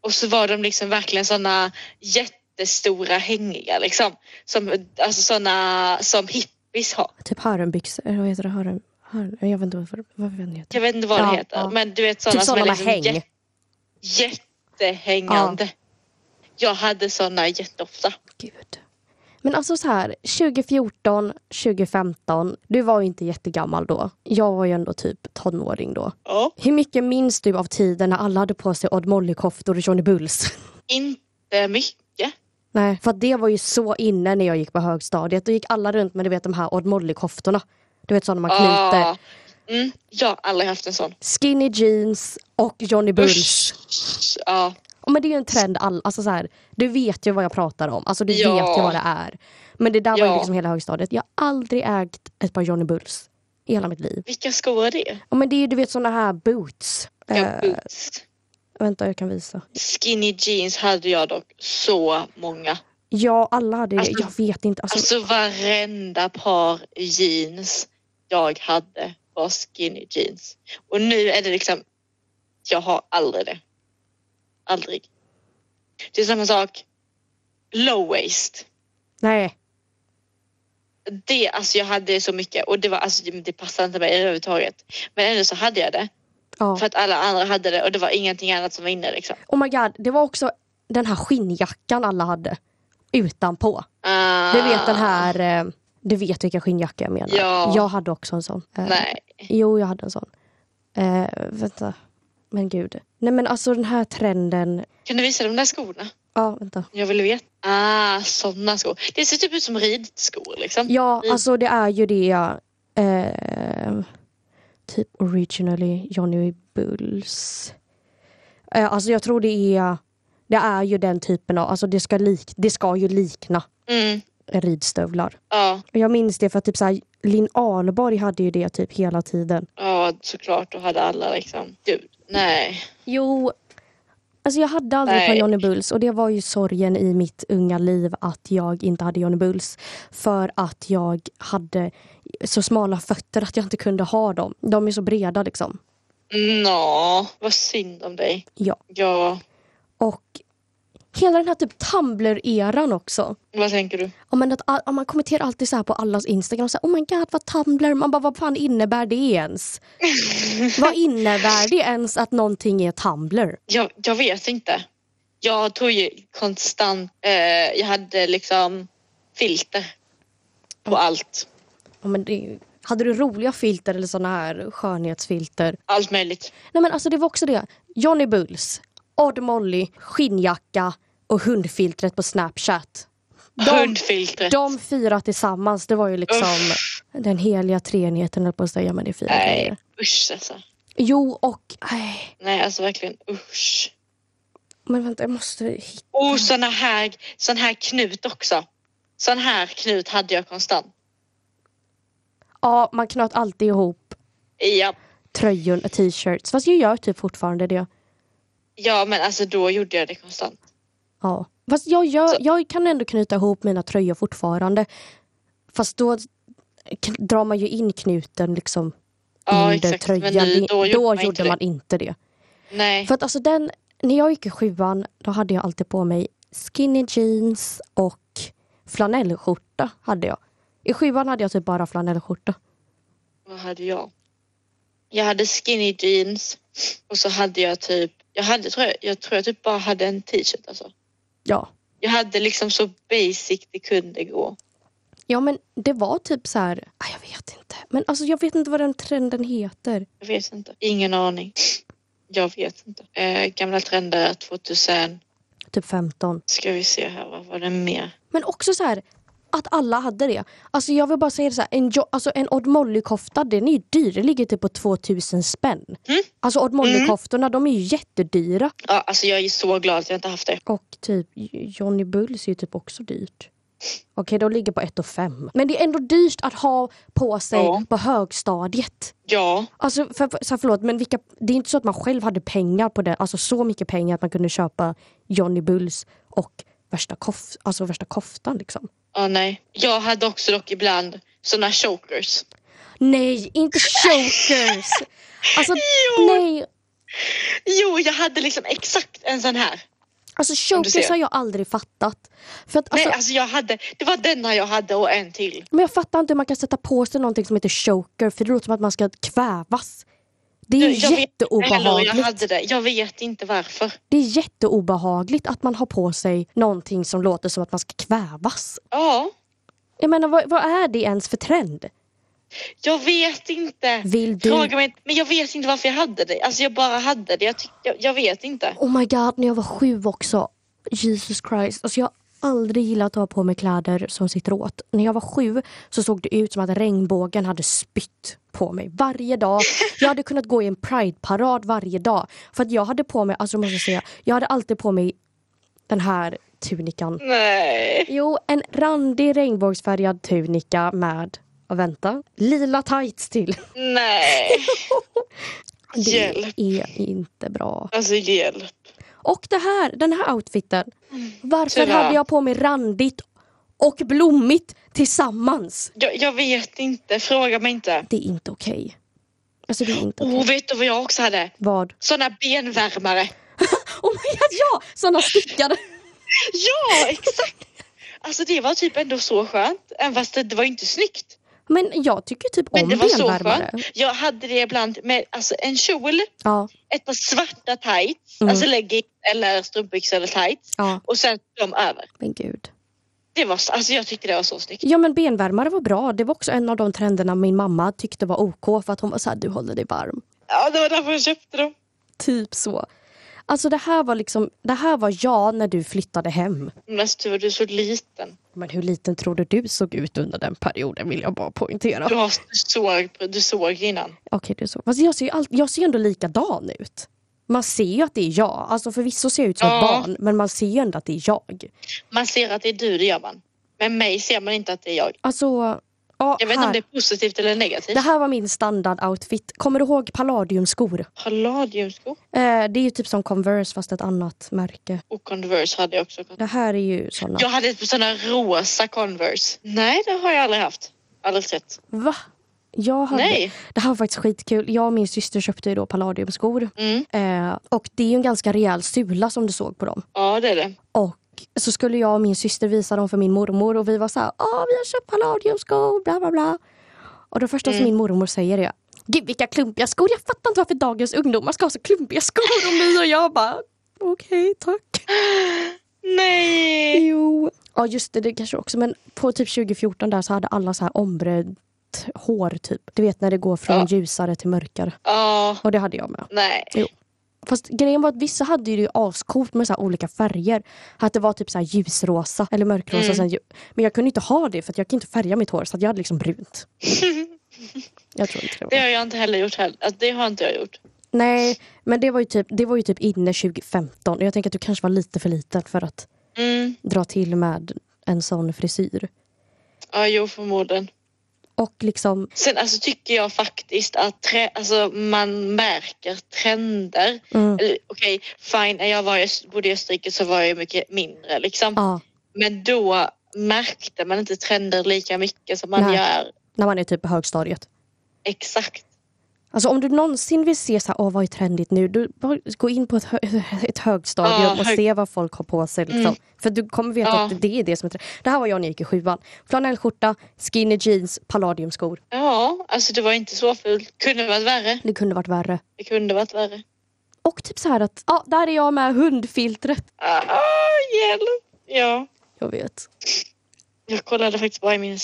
och så var de liksom verkligen såna jättestora hängiga liksom. Som, alltså såna som hippies har. Typ hörnbyxor, eller vad heter det? Hörn, hörn, jag vet inte vad, vad den heter. Jag vet inte vad Ja, det heter ja. men du vet Typ såna Typ som är sådana liksom med häng. jä- jättehängande. Jag hade såna jätteofta. Gud. Men alltså så här, 2014, 2015, du var ju inte jättegammal då. Jag var ju ändå typ tonåring då. Ja. Hur mycket minns du av tiden när alla hade på sig Odd Molly-koftor och Johnny Bulls? Inte mycket. Nej, för att det var ju så inne när jag gick på högstadiet. Då gick alla runt med du vet, de här Odd Molly-koftorna. Du vet sådana man knyter. Ah. Mm, jag har aldrig haft en sån. Skinny jeans och Johnny Bulls. Usch. Ja. Ja, Men det är ju en trend, all, alltså så här, du vet ju vad jag pratar om. Alltså du Ja. vet ju vad det är. Men det där var ju Ja. liksom hela högstadiet. Jag har aldrig ägt ett par Johnny Bulls i hela mitt liv. Vilka skor är det? Ja, men det är ju du vet såna här boots. Ja, Eh, boots. vänta jag kan visa. Skinny jeans hade jag dock så många. Ja alla hade det. Alltså- jag vet inte. Alltså, Alltså varenda par jeans jag hade var skinny jeans. Och nu är det liksom, jag har aldrig det. Aldrig. Det är samma sak, low waist. nej. Det, alltså jag hade så mycket och det var alltså det passade inte mig överhuvudtaget. Men ändå så hade jag det. Ja. För att alla andra hade det och det var ingenting annat som var inne liksom. Oh my god, det var också den här skinnjackan alla hade. Utanpå. Ah, Du vet den här, eh, du vet vilka skinnjacka jag menar. Ja. Jag hade också en sån. Eh, Nej. Jo, jag hade en sån. Eh, vänta. Men gud. Nej men alltså den här trenden. Kan du visa de där skorna? Ja, vänta. Jag vill veta. Ah, sådana skor. Det ser typ ut som ridskor liksom. Ja, Mm. alltså det är ju det. Eh, typ originally Johnny Bulls. Eh, alltså jag tror det är. Det är ju den typen av, alltså det ska, lik, det ska ju likna Mm, ridstövlar. ja, Och Jag minns det för att typ så här, Linn Ahlborg hade ju det typ hela tiden. ja, såklart. Då hade alla liksom... Gud, nej. Jo, alltså jag hade aldrig ett par Nej. Johnny Bulls och det var ju sorgen i mitt unga liv att jag inte hade Johnny Bulls. För att jag hade så smala fötter att jag inte kunde ha dem. De är så breda liksom. Nå, vad synd om dig. Ja. Ja, Och hela den här typ Tumblr-eran också. vad tänker du? Ja, men att, all- man kommenterar alltid så här på allas Instagram. Så här, oh my god, vad Tumblr. Man bara, vad fan innebär det ens? vad innebär det ens att någonting är Tumblr? Jag, jag vet inte. Jag tog ju konstant... Eh, jag hade liksom filter på allt. Ja, men det, hade du roliga filter eller såna här skönhetsfilter? Allt möjligt. Nej men alltså det var också det. Johnny Bulls, Odd Molly, skinnjacka och hundfiltret på Snapchat. De, Hundfiltret. de fyra tillsammans, det var ju liksom den heliga treenigheten höll på att säga, men det är fyra Nej, grejer. usch alltså. Jo och, nej, Nej, alltså verkligen usch. men vänta jag måste hitta. Och såna här, sån här knut också. Sån här knut hade jag konstant. Ja, man knöt alltid ihop Ja, tröjor och t-shirts. Fast jag gör typ fortfarande det. ja men alltså då gjorde jag det konstant. Ja. Fast jag, gör, Så- jag kan ändå knyta ihop mina tröjor fortfarande. Fast då k- drar man ju in knuten liksom Ja, under exakt. tröjan. Men nu, då, Det- då gjorde man inte gjorde man inte det. det. Nej. För att alltså den, när jag gick i sjuan då hade jag alltid på mig skinny jeans och flanellskjorta hade jag. I sjuan hade jag typ bara flanellskjorta. Vad hade jag? Jag hade skinny jeans och så hade jag typ... Jag, hade, tror jag, jag tror jag typ bara hade en t-shirt alltså. Ja. Jag hade liksom så basic det kunde gå. ja men det var typ så här, ah, jag vet inte. Men alltså jag vet inte vad den trenden heter. Jag vet inte. Ingen aning. Jag vet inte. Eh, gamla trender 2000. Typ 15. Ska vi se här, vad var det mer? Men också så här att alla hade det. Alltså jag vill bara säga det så här, en, jo- alltså en Odd Molly-kofta den är ju dyr, den ligger typ på 2000 spänn. Alltså Odd Molly-koftorna de är ju jättedyra. Ja, alltså jag är så glad att jag inte haft det. Och typ Johnny Bulls är ju typ också dyrt. Okej, de ligger på 1 5. Men det är ändå dyrt att ha på sig Ja. på högstadiet. Ja, Alltså, för, för, så här, förlåt, men vilka, det är inte så att man själv hade pengar på det. Alltså så mycket pengar att man kunde köpa Johnny Bulls och värsta, kof, alltså, värsta koftan liksom. ja nej. Jag hade också dock ibland såna chokers. Nej, inte chokers! Alltså, Jo. nej. Jo, jag hade liksom exakt en sån här. Alltså du ser. chokers har jag aldrig fattat. För att, alltså, nej, alltså jag hade, det var denna jag hade och en till. Men jag fattar inte hur man kan sätta på sig någonting som heter choker för det låter som att man ska kvävas. Det är Du, jag vet inte heller hur jätteobehagligt. Jag hade det. Jag vet inte varför. Det är jätteobehagligt att man har på sig någonting som låter som att man ska kvävas. Ja, Jag menar, vad, vad är det ens för trend? jag vet inte. Vill du- Fråga mig inte. Men jag vet inte varför jag hade det. Alltså jag bara hade det. Jag, tyck, jag, jag vet inte. Oh my god, när jag var sju också. Jesus Christ. Alltså jag, aldrig gillat att ha på mig kläder som sitter åt. När jag var sju så såg det ut som att regnbågen hade spytt på mig varje dag. Jag hade kunnat gå i en prideparad varje dag. För att jag hade på mig, alltså måste jag säga, jag hade alltid på mig den här tunikan. Nej. Jo, en randig regnbågsfärgad tunika med, och vänta, lila tights till. Nej. Det Hjälp. är inte bra. Alltså hjälp. Och det här, den här outfiten. Varför Tyvärr. hade jag på mig randigt och blommigt tillsammans? Jag, jag vet inte. Fråga mig inte. Det är inte okej. Alltså det är inte okej. Oh, vet du vad jag också hade? Vad? Såna benvärmare. Oh my god, ja! Såna stickade. Ja, exakt. Alltså det var typ ändå så skönt. Även fast det, det var ju inte snyggt. Men jag tycker typ Men om det var så benvärmare. skönt. Jag hade det ibland med alltså, en kjol, Ja, ett par svarta tights, Mm. alltså leggings eller strumpbyxor eller tights ja, och sen de över. men gud. Det var, så- alltså jag tyckte det var så snyggt. Ja men benvärmare var bra. Det var också en av de trenderna min mamma tyckte var OK för att hon var såhär, du håller dig varm. Ja, det var därför jag köpte dem. Typ så. Alltså det här var liksom, det här var jag när du flyttade hem. Men alltså du var du är så liten. Men hur liten tror du du såg ut under den perioden vill jag bara poängtera. Du, har, du, såg, du såg innan. Okej, det är så. Fast jag ser ju allt, jag ser ändå likadan ut. Man ser ju att det är jag. Alltså förvisso ser jag ut som ett Ja. barn, men man ser ju ändå att det är jag. Man ser att det är du, det gör man. Men mig ser man inte att det är jag. Alltså, ja, Jag vet inte här. om det är det... positivt eller negativt. här var min standardoutfit. Kommer du ihåg palladiumskor? Palladiumskor Eh, det är ju typ som Converse fast ett annat märke. och Converse hade jag också. Det här är ju såna. Jag hade ett par sådana rosa Converse. Nej, det har jag aldrig haft. Aldrig sett. Va? Jag hade... Nej. Det här var faktiskt skitkul. Jag och min syster köpte ju då palladiumskor. Mm. Eh, och det är ju en ganska rejäl sula som du såg på dem. Ja, det är det. Och så skulle jag och min syster visa dem för min mormor och vi var så här, Åh, vi har köpt palladiumskor, bla bla bla. Och det första Mm. som min mormor säger är, gud vilka klumpiga skor, jag fattar inte varför dagens ungdomar ska ha så klumpiga skor. Och ni och jag bara, okej tack. Nej! Jo. Ja just det, det kanske också, men på typ 2014 där så hade alla så här ombredd hår typ. Du vet när det går från Ja. ljusare till mörkare. Ja, Och det hade jag med. nej. Fast grejen var att vissa hade ju det ascoolt med så här olika färger. Att det var typ så här ljusrosa eller mörkrosa. Mm. Sen, ju- men jag kunde inte ha det för att jag kan inte färga mitt hår så att jag hade liksom brunt. jag tror inte det var. Det har jag inte heller gjort heller. Alltså, det har inte jag gjort. Nej, men det var, ju typ, det var ju typ inne 2015. Och Jag tänker att du kanske var lite för liten för att Mm. dra till med en sån frisyr. Ja, jo, förmodligen. Och liksom, Sen alltså, tycker jag faktiskt att tre, alltså, man märker trender. mm, Eller, Okej, fine, när jag var i, Öst- bodde i Österrike så var jag mycket mindre. Liksom. ja, Men då märkte man inte trender lika mycket som man Nej. gör. när man är typ på högstadiet. Exakt. Alltså om du någonsin vill se så här, åh, vad är trendigt nu, du, bara gå in på ett, hö ett högstadium Ja, och hög- se vad folk har på sig. Liksom. Mm. För du kommer veta Ja. att det är det som är trendigt. Det här var jag när jag gick i sjuan. Flanellskjorta, skinny jeans, palladiumskor. Ja, alltså det var inte så fult. Kunde varit värre. Det kunde varit värre. Det kunde varit värre. Och typ så här att, ja där är jag med hundfiltret. Ah, hjälp! Ja, Jag vet. jag kollade faktiskt bara i min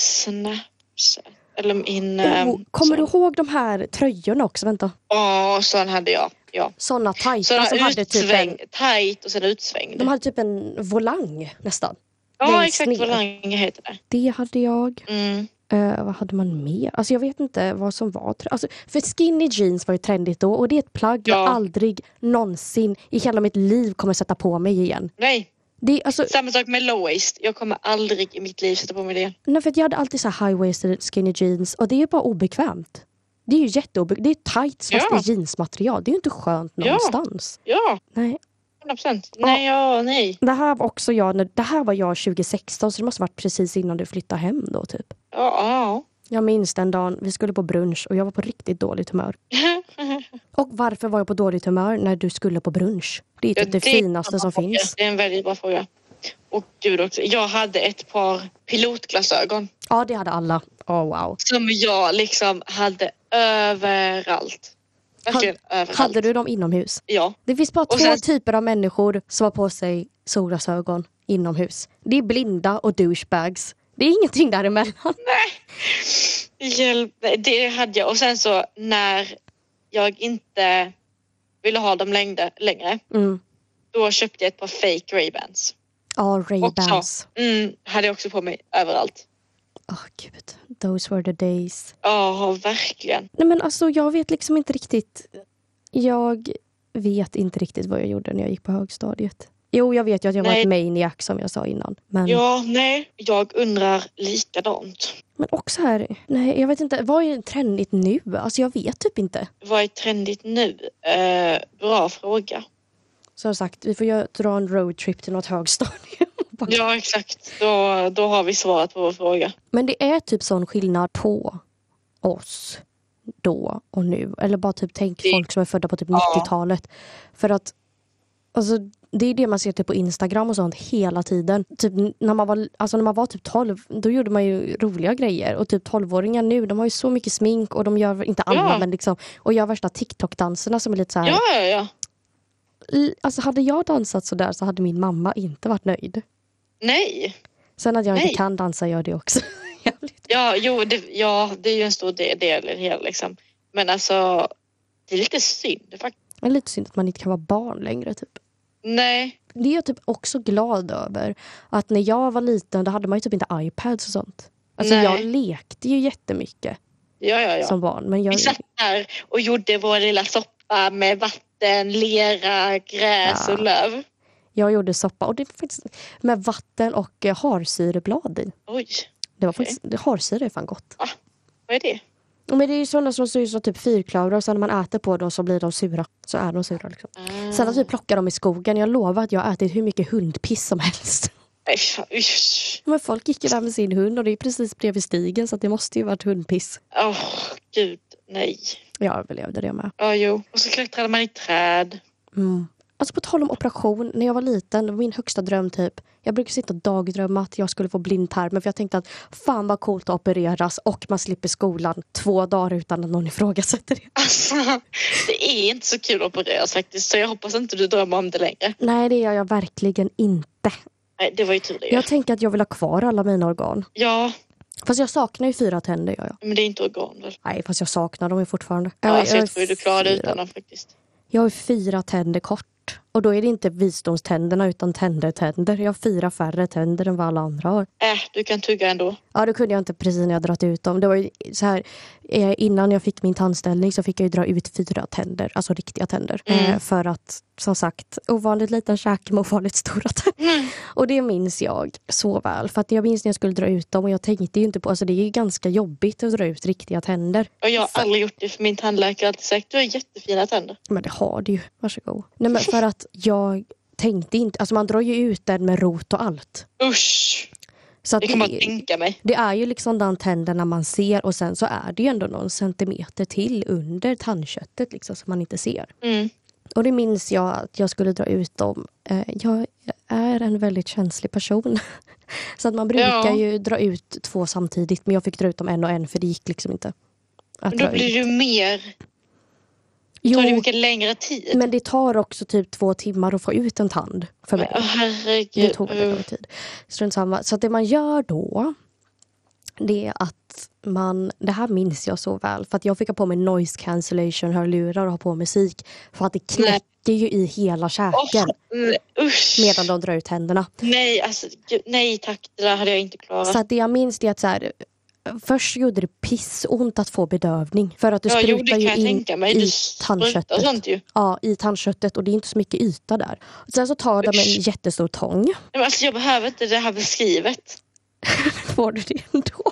Snapchat. Eller min... ehm, oh, kommer du ihåg de här tröjorna också? Vänta. Ja, sån hade jag. Ja. Såna tajta Såna som hade typ utsväng, en, tajt och sen utsvängd. de hade typ en volang nästan. ja, längst exakt ner. vad länge heter det. Det hade jag. Mm. Eh, vad hade man mer? Alltså jag vet inte vad som var tre- alltså, För skinny jeans var ju trendigt då och det är ett plagg jag Ja. aldrig någonsin i hela mitt liv kommer sätta på mig igen. Nej, Det, är- alltså, samma sak med low waist. Jag kommer aldrig i mitt liv sätta på mig det. nej, för att jag hade alltid så här high-waisted skinny jeans och det är ju bara obekvämt. Det är ju jätteobekvämt. Det är tights fast Ja. i jeansmaterial. Det är ju inte skönt Ja. någonstans. Ja, Nej. 100 procent. Nej, ja, nej. Det här var också jag, när, det här var jag 2016 så det måste ha varit precis innan du flyttade hem då typ. Ja, Jag minns den dagen vi skulle på brunch och jag var på riktigt dåligt humör. ja. Och varför var jag på dåligt humör när du skulle på brunch? Det är typ Ja, det, det är finaste en som bra fråga. finns. Det är en väldigt bra fråga. Och gud också. Jag hade ett par pilotglasögon Ja, det hade alla. Åh wow. som jag liksom hade överallt. Verkligen överallt. Hade du dem inomhus? Ja. Det finns bara Och två sen- typer av människor som har på sig solglasögon inomhus. Det är blinda och douchebags. Det är ingenting däremellan. Hjälp. Nej, Det hade jag. Och sen så när jag inte ville ha dem längre, längre Mm. då köpte jag ett par fake Ray-Bans. Ja, Ray-Bans. Mm, hade jag också på mig överallt. Åh gud, those were the days. Ja, verkligen. Nej men alltså jag vet liksom inte riktigt. Jag vet inte riktigt vad jag gjorde när jag gick på högstadiet. Jo, jag vet ju att jag var Nej. ett maniac som jag sa innan. Men, Ja, nej, jag undrar likadant. men också här, nej jag vet inte, vad är trendigt nu? Alltså jag vet typ inte. Vad är trendigt nu? Eh, bra fråga. Som sagt, vi får ju dra en roadtrip till något högstadium. Bara- Ja, exakt. Då, då har vi svarat på vår fråga. Men det är typ sån skillnad på oss då och nu. Eller bara typ tänk Det- folk som är födda på typ Ja. 90-talet. För att alltså, det är det man ser typ på Instagram och sånt hela tiden. Typ när man var, alltså, när man var typ 12 då gjorde man ju roliga grejer. Och typ 12-åringar nu de har ju så mycket smink och de gör inte Ja. annat men liksom och gör värsta TikTok-danserna som är lite så här. Ja, ja, ja. I- Alltså hade jag dansat så där så hade min mamma inte varit nöjd. Nej. Sen att jag Nej. inte kan dansa gör det också. Jävligt. Ja, jo, det, ja, det är ju en stor de- del i det hela liksom. Men alltså, det är lite synd faktiskt. Det är lite synd att man inte kan vara barn längre typ. Nej. Det är jag typ också glad över. Att när jag var liten då hade man ju typ inte iPads och sånt. Alltså Nej. jag lekte ju jättemycket Ja, ja, ja. som barn. Men jag, Vi satt där och gjorde vår lilla soppa med vatten, lera, gräs Ja. och löv. jag gjorde soppa och det var faktiskt med vatten och eh, harsyreblad i. Oj, Det var Okej. faktiskt, det, harsyre är fan gott. vad är det? Men det är ju sådana som ser ut som typ fyrklöver och sen när man äter på dem så blir de sura. Så är de sura liksom. Ah. Sen att vi plockar dem i skogen. Jag lovar att jag har ätit hur mycket hundpiss som helst. Nej, fy fan, usch. Men folk gick ju där med sin hund och det är ju precis bredvid stigen så att det måste ju varit hundpiss. Åh, gud, nej. Jag överlevde det med. Ja, jo. Och så klättrade man i träd. Mm. Alltså på tal om operation, när jag var liten, det var min högsta dröm typ. Jag brukade sitta och dagdrömma att jag skulle få blindtarmen för jag tänkte att fan vad coolt att opereras och man slipper skolan två dagar utan att någon ifrågasätter det. Alltså, det är inte så kul att opereras faktiskt. Så jag hoppas inte du drömmer om det längre. Nej, det gör jag verkligen inte. Nej, det var ju tur det. Jag tänker att jag vill ha kvar alla mina organ. Ja, Fast jag saknar ju fyra tänder gör jag. men det är inte organ väl? Nej, fast jag saknar dem ju fortfarande. Ja, har- så har jag tror ju du klarar det fyra- utan dem faktiskt. Jag har fyra tänder kort. Och då är det inte visdomständerna utan tänder-tänder. Jag har fyra färre tänder än vad alla andra har. Äh, du kan tugga ändå. Ja, det kunde jag inte precis när jag dragit ut dem. Det var ju så här, eh, innan jag fick min tandställning så fick jag ju dra ut fyra tänder, alltså riktiga tänder. Mm. Eh, för att, som sagt, ovanligt liten käke med ovanligt stora tänder. Mm. Och det minns jag så väl. För att jag minns när jag skulle dra ut dem och jag tänkte ju inte på, alltså det är ju ganska jobbigt att dra ut riktiga tänder. Och jag har aldrig gjort det för min tandläkare har alltid sagt du har jättefina tänder. Men det har du ju, varsågod. Nej men för att jag tänkte inte, alltså man drar ju ut den med rot och allt. Usch! Så att Det kan man tänka mig. Det är ju liksom den tänderna man ser och sen så är det ju ändå någon centimeter till under tandköttet liksom som man inte ser. Mm. Och det minns jag att jag skulle dra ut dem. Eh, Jag är en väldigt känslig person. Så att man brukar Ja. ju dra ut två samtidigt men jag fick dra ut dem en och en för det gick liksom inte. Att Men då dra blir det ut. ju mer, tar det Jo, mycket längre tid. men det tar också typ två timmar att få ut en tand för mig. Åh, Det herregud. tog väldigt lång tid. Strunt samma. Så att det man gör då, det är att man, det här minns jag så väl, för att jag fick ha på mig noise cancellation hörlurar och ha på musik för att det knäcker ju i hela käken Åh, Mm, usch! medan de drar ut tänderna. Nej, alltså, gud, nej tack. Det där hade jag inte klarat. Så att det jag minns det är att så här, först gjorde det pissont att få bedövning för att du ja, jo, det sprutar kan ju jag in tänka mig. i Du sprutar tandköttet. sånt ju. Nej, Ja, i tandköttet och det är inte så mycket yta där. Sen så tar de en Usch. jättestor tång. men alltså, jag behöver inte det här beskrivet. Får du det ändå?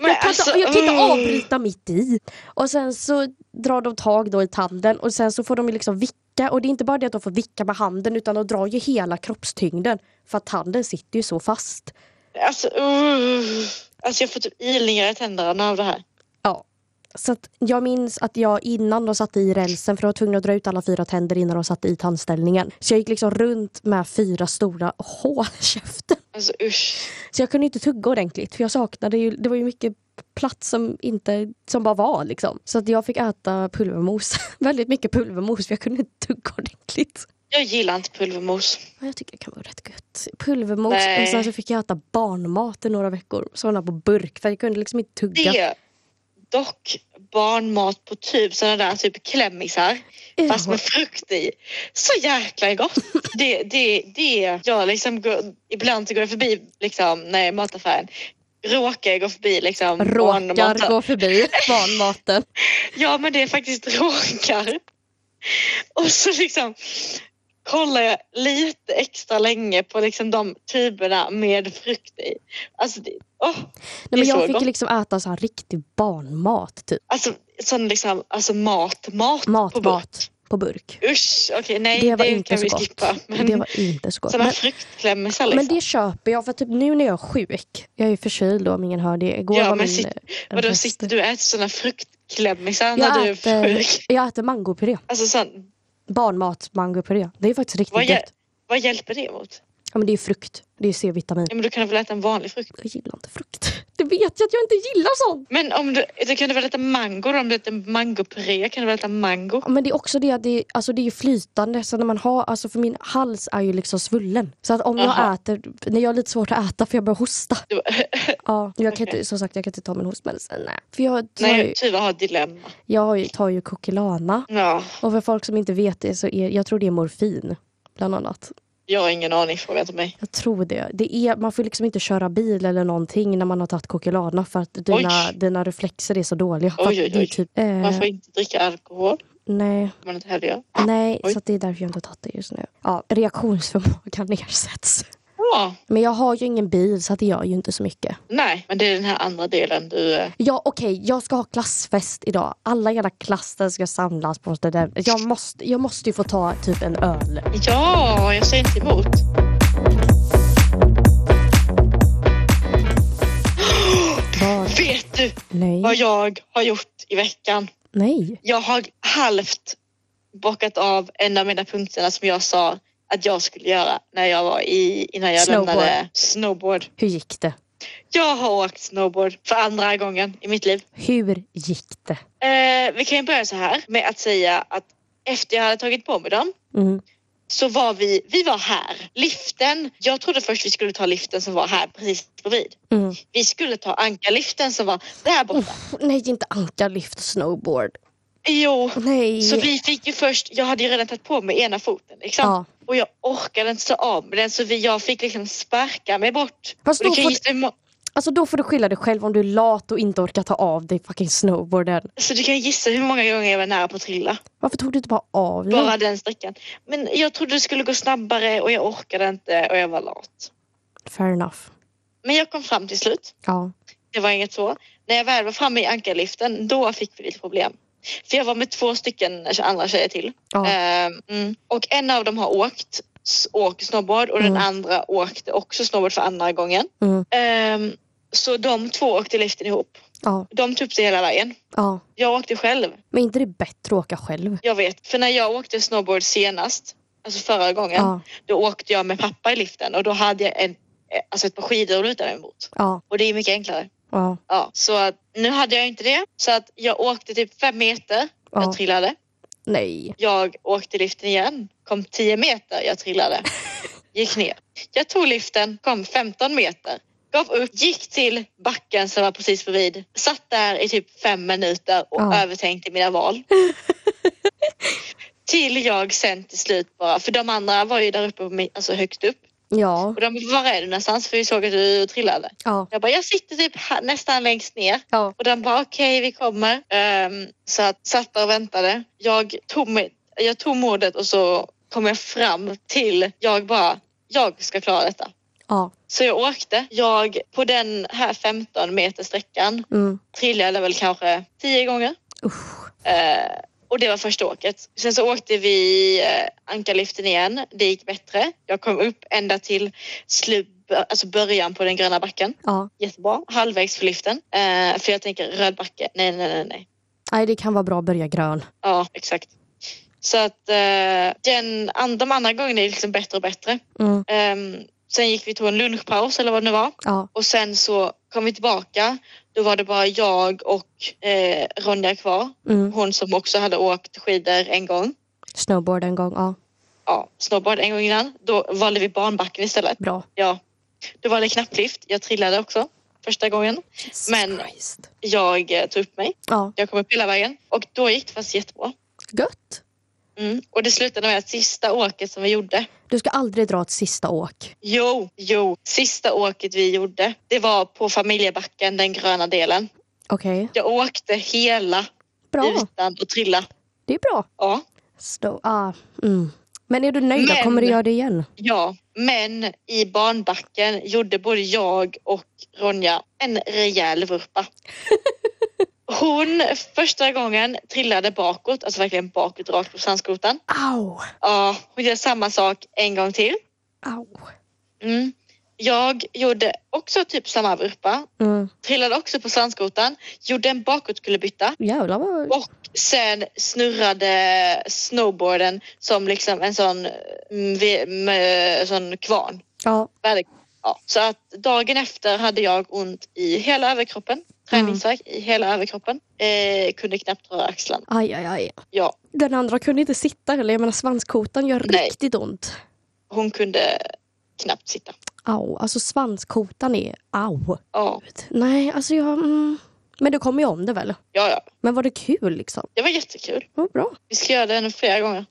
Men, Jag kan, alltså, inte, jag kan inte mm. avbryta mitt i. Och sen så drar de tag då i tanden och sen så får de ju liksom vicka. Och det är inte bara det att de får vicka med handen utan de drar ju hela kroppstyngden. För att tanden sitter ju så fast. Alltså, uh. alltså jag får typ ilningar i tänderna av det här. Ja. Så att jag minns att jag innan de satte i rälsen, för de var tvungna att dra ut alla fyra tänder innan de satte i tandställningen. Så jag gick liksom runt med fyra stora hål i käften. Alltså usch. Så jag kunde inte tugga ordentligt för jag saknade ju, det var ju mycket plats som inte, som bara var liksom. Så att jag fick äta pulvermos, väldigt mycket pulvermos för jag kunde inte tugga ordentligt. Jag gillar inte pulvermos. Men jag tycker det kan vara rätt gött. Pulvermos Nej. och sen så fick jag äta barnmat i några veckor, sådana på burk för jag kunde liksom inte tugga. Det, dock, barnmat på typ sådana där typ klämmisar fast med frukt i. Så jäkla gott! Det, det, det. Jag liksom går, ibland så går jag förbi liksom, när jag är i mataffären råkar jag gå förbi liksom Råkar barnmaten. gå förbi barnmaten. Ja men det är faktiskt råkar. Och så liksom kollar jag lite extra länge på liksom de tuberna med frukt i. Alltså, det, åh, Nej, men Det är jag så fick gott. ju liksom äta så här riktig barnmat. Typ. alltså sån liksom, alltså mat, mat, på Matmat burk. på burk. Usch, okej nej Det det, var inte kan så vi gott. skippa. Men Det var inte så gott. sådana Men- fruktklämmisar liksom. Men det köper jag för typ nu när jag är sjuk. Jag är ju förkyld då om ingen hör det. Igår Ja, var men min... sit- eh, Vadå röst. sitter du och äter sådana fruktklämmisar när jag du är sjuk? äter, jag äter mangopuré. Alltså sån, Barnmat mangopuré. Det är ju faktiskt riktigt Vad gör- gott. vad hjälper det mot? Ja, men det är ju frukt. Det är ju C-vitamin. Ja, men du kan väl äta en vanlig frukt? Jag gillar inte frukt. Du vet ju att jag inte gillar sånt. Men om du, du kan du väl äta mango då? Om du äter mangopuré kan du väl äta mango? Ja, Men det är också det att det, alltså det är ju flytande. Så när man har, alltså för min hals är ju liksom svullen. Så att om jag Jaha. äter, när jag har lite svårt att äta för jag börjar hosta. Du, Ja, jag kan inte, som sagt jag kan inte ta min hostmedicin. Nej. För jag tar, nej, ju, Tuva har ett dilemma. jag har ju- tar ju kokilana. Ja, Och för folk som inte vet det så är jag tror det är morfin. Bland annat. jag har ingen aning, fråga inte mig. Jag tror det. det är, man får liksom inte köra bil eller någonting när man har tagit kokilana för att dina, Oj. dina reflexer är så dåliga. För Oj, att oj, det är oj. typ, eh, Varför inte dricka alkohol? Nej, Om man inte heller gör. nej Oj. så att det är därför jag inte har tagit det just nu. Ja, reaktionsförmågan ersätts. Ja, Men jag har ju ingen bil så att det gör ju inte så mycket. nej, men det är den här andra delen du... eh, Ja okej, jag ska ha klassfest idag. Alla jävla klassen ska samlas på det där. Jag måste, jag måste ju få ta typ en öl. Ja, jag säger inte emot. Var? Vet du vad Nej. jag har gjort i veckan? Nej. Jag har halvt bockat av en av mina punkterna som jag sa att jag skulle göra när jag var i, innan jag Snowboard. lämnade snowboard. Hur gick det? Jag har åkt snowboard för andra gången i mitt liv. Hur gick det? Eh, vi kan ju börja så här med att säga att efter jag hade tagit på mig dem Mm. så var vi, vi var här. Liften, jag trodde först vi skulle ta liften som var här precis bredvid. Mm. Vi skulle ta ankarliften som var där borta. Nej, inte ankarlyft och snowboard. Jo, Nej. så vi fick ju först, jag hade ju redan tagit på mig ena foten liksom. ja. Och jag orkade inte stå av med den så vi, jag fick liksom sparka mig bort. Fast Och det då kan får- ju inte må- Alltså då får du skylla dig själv om du är lat och inte orkar ta av dig fucking snowboarden. så du kan gissa hur många gånger jag var nära på att trilla. Varför tog du inte bara av dig? Bara den sträckan. Men jag trodde det skulle gå snabbare och jag orkade inte och jag var lat. Fair enough. Men jag kom fram till slut. Ja. Det var inget så. När jag väl var framme i ankarliften, då fick vi lite problem. För jag var med två stycken andra tjejer till. Ja. Ehm, mm. Och en av dem har åkt s- åker snowboard och den Mm. andra åkte också snowboard för andra gången. Mm. Ehm, så de två åkte liften ihop. ja. De tog upp sig hela vägen. Ja. Jag åkte själv, Men inte det bättre att åka själv? jag vet. För när jag åkte snowboard senast, alltså förra gången, Ja. då åkte jag med pappa i liften och då hade jag en, eh, alltså ett par skidor att luta mig mot. Ja. Och det är mycket enklare. Ja. Ja, så att, nu hade jag inte det. Så att jag åkte typ fem meter, Ja. jag trillade. Nej. Jag åkte liften igen, kom 10 meter, jag trillade. Gick ner. Jag tog liften, kom 15 meter, gav upp, gick till backen som var precis bredvid. Satt där i typ fem minuter och Ja. övertänkte mina val. till jag sen till slut bara, för de andra var ju där uppe, på min- alltså högt upp. Ja. Och de bara, var är du någonstans? För vi såg att du trillade. Ja. Jag bara, jag sitter typ här, nästan längst ner. Ja. Och den bara okej vi kommer. Ehm, så att, satt där och väntade. Jag tog, mig, jag tog modet och så kom jag fram till jag bara, jag ska klara detta. Ja. Så jag åkte. Jag på den här 15 meter sträckan Mm. trillade väl kanske 10 gånger. Usch. Eh, och det var första åket. Sen så åkte vi eh, ankarliften igen. Det gick bättre. Jag kom upp ända till slut, alltså början på den gröna backen. Ja. Jättebra. Halvvägs för liften. Eh, för jag tänker röd backe. Nej, nej, nej, nej. Nej, det kan vara bra att börja grön. Ja, exakt. Så att eh, den, an- de andra gångerna är liksom bättre och bättre. Mm. Ehm, sen gick vi och tog en lunchpaus eller vad det nu var. Ja. Och sen så kom vi tillbaka. Då var det bara jag och eh, Ronja kvar. Mm. Hon som också hade åkt skidor en gång. Snowboard en gång. Ja. Ja, snowboard en gång innan. Då valde vi barnbacken istället. Bra. Ja. Då var det knapplift. Jag trillade också. första gången. Jesus Men- Christ. Jag eh, tog upp mig. Ja, Jag kom upp hela vägen och då gick det faktiskt jättebra. gött. Mm. Och det slutade med att sista åket som vi gjorde. Du ska aldrig dra ett sista åk. Jo, jo. Sista åket vi gjorde, det var på familjebacken, den gröna delen. Okej, Jag åkte hela bra. utan att trilla. Det är bra. Ja, Stå, ah, mm. Men är du nöjd? då? Men- Kommer du göra det igen? ja. Men i barnbacken gjorde både jag och Ronja en rejäl vurpa. Hon första gången trillade bakåt, alltså verkligen bakåt rakt på sandskotan. Au! Ja, hon gör samma sak en gång till. Au! Mm. Jag gjorde också typ samma vurpa. Mm. Trillade också på sandskotan. Gjorde en bakåtkullerbytta. Jävlar vad... Och sen snurrade snowboarden som liksom en sån, mm, ve- med- sån kvarn. Ja, Väder- Ja. Så att dagen efter hade jag ont i hela Mm. överkroppen. Träningsvärk i hela överkroppen. Eh, kunde knappt röra axlarna. aj, aj, aj. Ja, Den andra kunde inte sitta heller. Jag menar svanskotan gör Nej. riktigt ont. hon kunde knappt sitta. Au, alltså svanskotan är au. Ja, Nej, alltså jag... Mm. Men du kommer ju om det väl? ja, ja. Men var det kul liksom? Det var jättekul. Vad bra. Vi ska göra den flera gånger.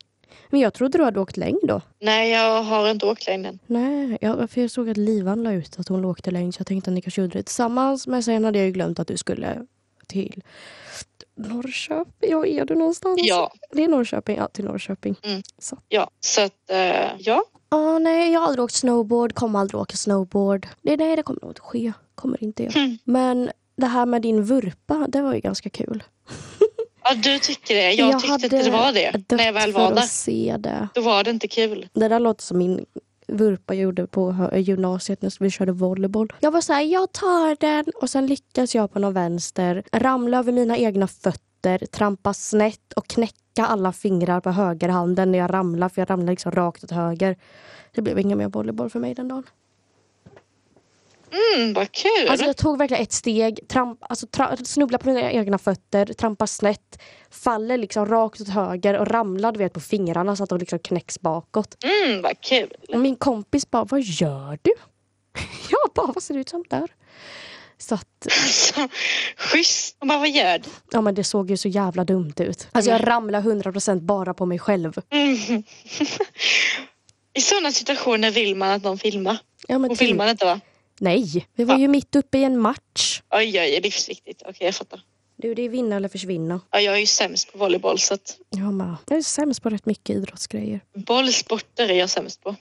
Men jag trodde du hade åkt längd då. Nej, jag har inte åkt längden. Nej, jag, för jag såg att Livan la ut att hon åkte längd så jag tänkte att ni kanske gjorde det tillsammans. Men sen hade jag ju glömt att du skulle till Norrköping. Ja, är du någonstans? Ja, Det är Norrköping. Ja, till Norrköping. ja. Så att, eh, ja. Ja, nej, jag har aldrig åkt snowboard, kommer aldrig åka snowboard. Det, nej, det kommer nog inte ske. Kommer inte jag. Mm. Men det här med din vurpa, det var ju ganska kul. ja, du tycker det. Jag, tyckte inte det var det dött när jag väl var för där. att se det. Då var det inte kul. Det där låter som min vurpa jag gjorde på hö- gymnasiet när vi körde volleyboll. Jag var så här, jag tar den och sen lyckas jag på någon vänster ramla över mina egna fötter, trampa snett och knäcka alla fingrar på högerhanden när jag ramlar för jag ramlar liksom rakt åt höger. Det blev inga mer volleyboll för mig den dagen. Mm, vad kul. Alltså jag tog verkligen ett steg, tramp, alltså tra- snubblar på mina egna fötter, trampar snett, faller liksom rakt åt höger och ramlar du vet på fingrarna så att de liksom knäcks bakåt. Mm, vad kul. Och min kompis bara, vad gör du? Jag bara, vad ser du ut som där? Så att, Alltså, schysst. Hon bara, vad gör du? ja men det såg ju så jävla dumt ut. Alltså jag ramlade 100% bara på mig själv. Mm. I sådana situationer vill man att någon filmar. Ja, men Hon typ. filmade Ah. inte va? Nej, vi var ju mitt uppe i en match. Oj, oj, livsviktigt. Okej, jag fattar. Du, det är vinna eller försvinna. Ja, jag är ju sämst på volleyboll så att Jag, bara, jag är sämst på rätt mycket idrottsgrejer. bollsporter är jag sämst på.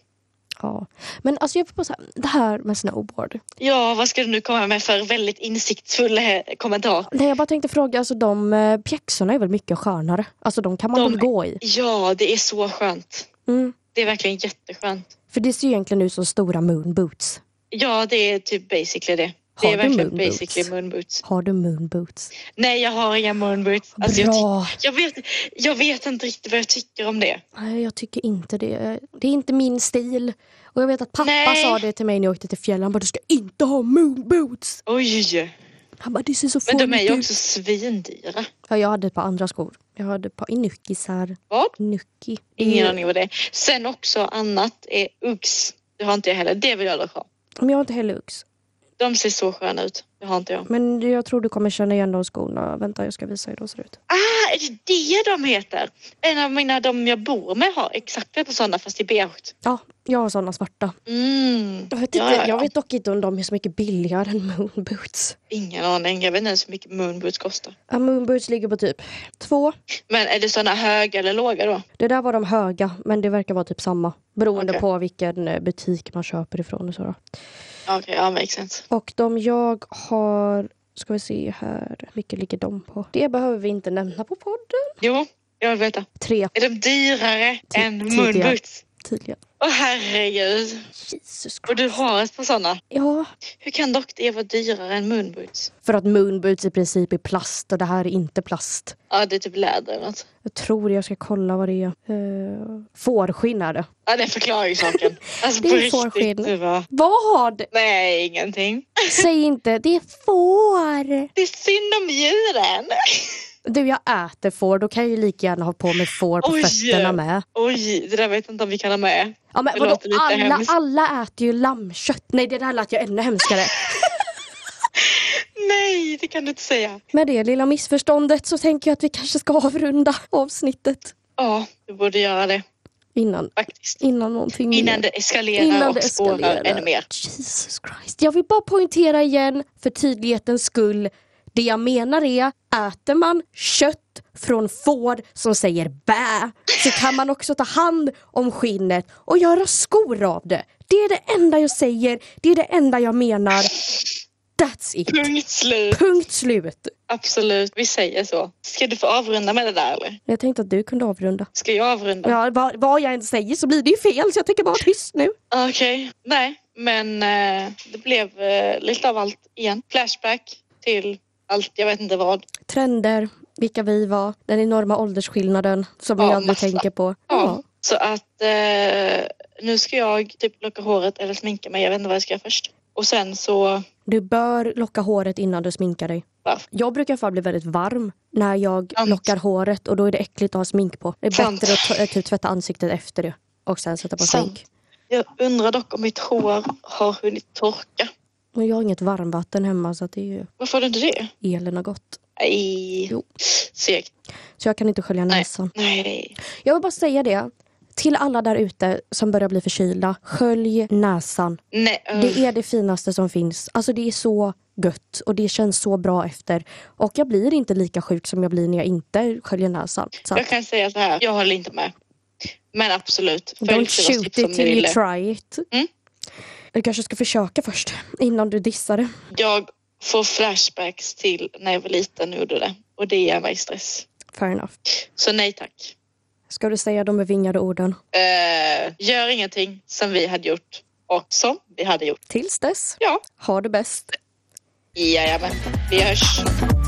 Ja. Men alltså jag får på så här, det här med snowboard. Ja, vad ska du nu komma med för väldigt insiktsfull eh, kommentar? Nej, jag bara tänkte fråga, alltså de eh, pjäxorna är väl mycket skönare? Alltså de kan man De- väl gå i? Ja, det är så skönt. Mm. Det är verkligen jätteskönt. För det ser ju egentligen ut som stora moonboots. Ja, det är typ basically det. Har det är du verkligen moonboots? basically moonboots. Har du moonboots? Nej, jag har inga moonboots. Alltså, jag, ty- Bra! jag, vet, jag vet inte riktigt vad jag tycker om det. Nej, jag tycker inte det. Det är inte min stil. Och jag vet att pappa Nej. sa det till mig när jag åkte till fjällen. Han bara, du ska inte ha moonboots! Oj! Han bara, det ser så Men de är fånigt ju ut. också svindyra. Ja, jag hade ett par andra skor. Jag hade ett par inukisar. Vad? Inuki. Ingen Mm. aning vad det är. Sen också annat är Uggs. Det har inte jag heller. Det vill jag dock ha. Men jag har inte heller Ux. De ser så sköna ut. Det har inte jag. Men du, jag tror du kommer känna igen de skorna. Vänta, jag ska visa hur de ser ut. Ah, är det det de heter? En av mina, de jag bor med har exakt ett par sådana fast i beige. Ja, jag har såna svarta. Mm. Jag vet, inte, Ja, ja, jag ja. vet dock inte om de är så mycket billigare än moonboots. Ingen aning. Jag vet inte ens hur mycket moonboots kostar. Ja, moonboots ligger på typ två. Men är det sådana höga eller låga då? Det där var de höga, men det verkar vara typ samma. Beroende Okej. på vilken eh, butik man köper ifrån och så. Då. Okej, ja makes sense. Och de jag har, ska vi se här, vilken ligger de på? Det behöver vi inte nämna på podden. Jo, jag vill veta. Tre Är de dyrare än tidigare. moonboots? tydligen. Åh herregud. Jesus Och du Christ. har ett par sådana. Ja, Hur kan dock det vara dyrare än moonboots? för att moonboots i princip är plast och det här är inte plast. Ja, det är typ läder eller något. Jag tror jag ska kolla vad det är. Uh, fårskinn är det. Ja, det förklarar ju saken. Alltså Det är på ju riktigt. fårskinn. Du bara, Vad? nej, ingenting. Säg inte, det är får. Det är synd om djuren. Du, jag äter får. Då kan jag ju lika gärna ha på mig får på Oj. fötterna med. Oj, det där vet jag inte om vi kan ha med. Ja, men Det vadå, låter lite alla, hemskt. alla äter ju lammkött. Nej, det där lät ju ännu hemskare. Nej, det kan du inte säga. Med det lilla missförståndet så tänker jag att vi kanske ska avrunda avsnittet. Ja, du borde göra det Innan, faktiskt. innan någonting Innan mer. det eskalerar och spårar ännu mer. Jesus Christ. Jag vill bara poängtera igen för tydlighetens skull. Det jag menar är, äter man kött från får som säger bä så kan man också ta hand om skinnet och göra skor av det. Det är det enda jag säger, det är det enda jag menar. That's it. Punkt slut. Punkt slut. Absolut, vi säger så. Ska du få avrunda med det där eller? Jag tänkte att du kunde avrunda. Ska jag avrunda? Ja, vad, vad jag än säger så blir det ju fel så jag tänker bara vara tyst nu. Okej, nej, men eh, det blev eh, lite av allt igen. Flashback till allt, jag vet inte vad. Trender, vilka vi var, den enorma åldersskillnaden som vi Ja, aldrig massa. tänker på. Ja. Ja. Så att eh, nu ska jag typ locka håret eller sminka mig. Jag vet inte vad jag ska göra först. Och sen så... Du bör locka håret innan du sminkar dig. Varför? Jag brukar i alla fall bli väldigt varm när jag Sant. lockar håret och då är det äckligt att ha smink på. Det är Sant. bättre att ta, eh, typ tvätta ansiktet efter det och sen sätta på Sant. smink. Jag undrar dock om mitt hår har hunnit torka. Men jag har inget varmvatten hemma så att det är ju Varför har du inte det? elen har gått. Nej. Jo. Alltså. Segt. Så jag kan inte skölja näsan. Nej. Jag vill bara säga det till alla där ute som börjar bli förkylda. Skölj näsan. Nej. eh, Det är det finaste som finns. Alltså det är så gött och det känns så bra efter. Och jag blir inte lika sjuk som jag blir när jag inte sköljer näsan. Så Jag kan säga så här, jag håller inte med. Men absolut, don't Sivas shoot tips om it ni till you ville. try it. Mm. Du kanske ska försöka först innan du dissar det. Jag får flashbacks till när jag var liten och gjorde det. Och det ger mig stress. Fair enough. Så nej tack. Ska du säga de bevingade orden? Eh, gör ingenting som vi hade gjort och som vi hade gjort. Tills dess, Ja, ha det bäst. jajamän. Vi hörs.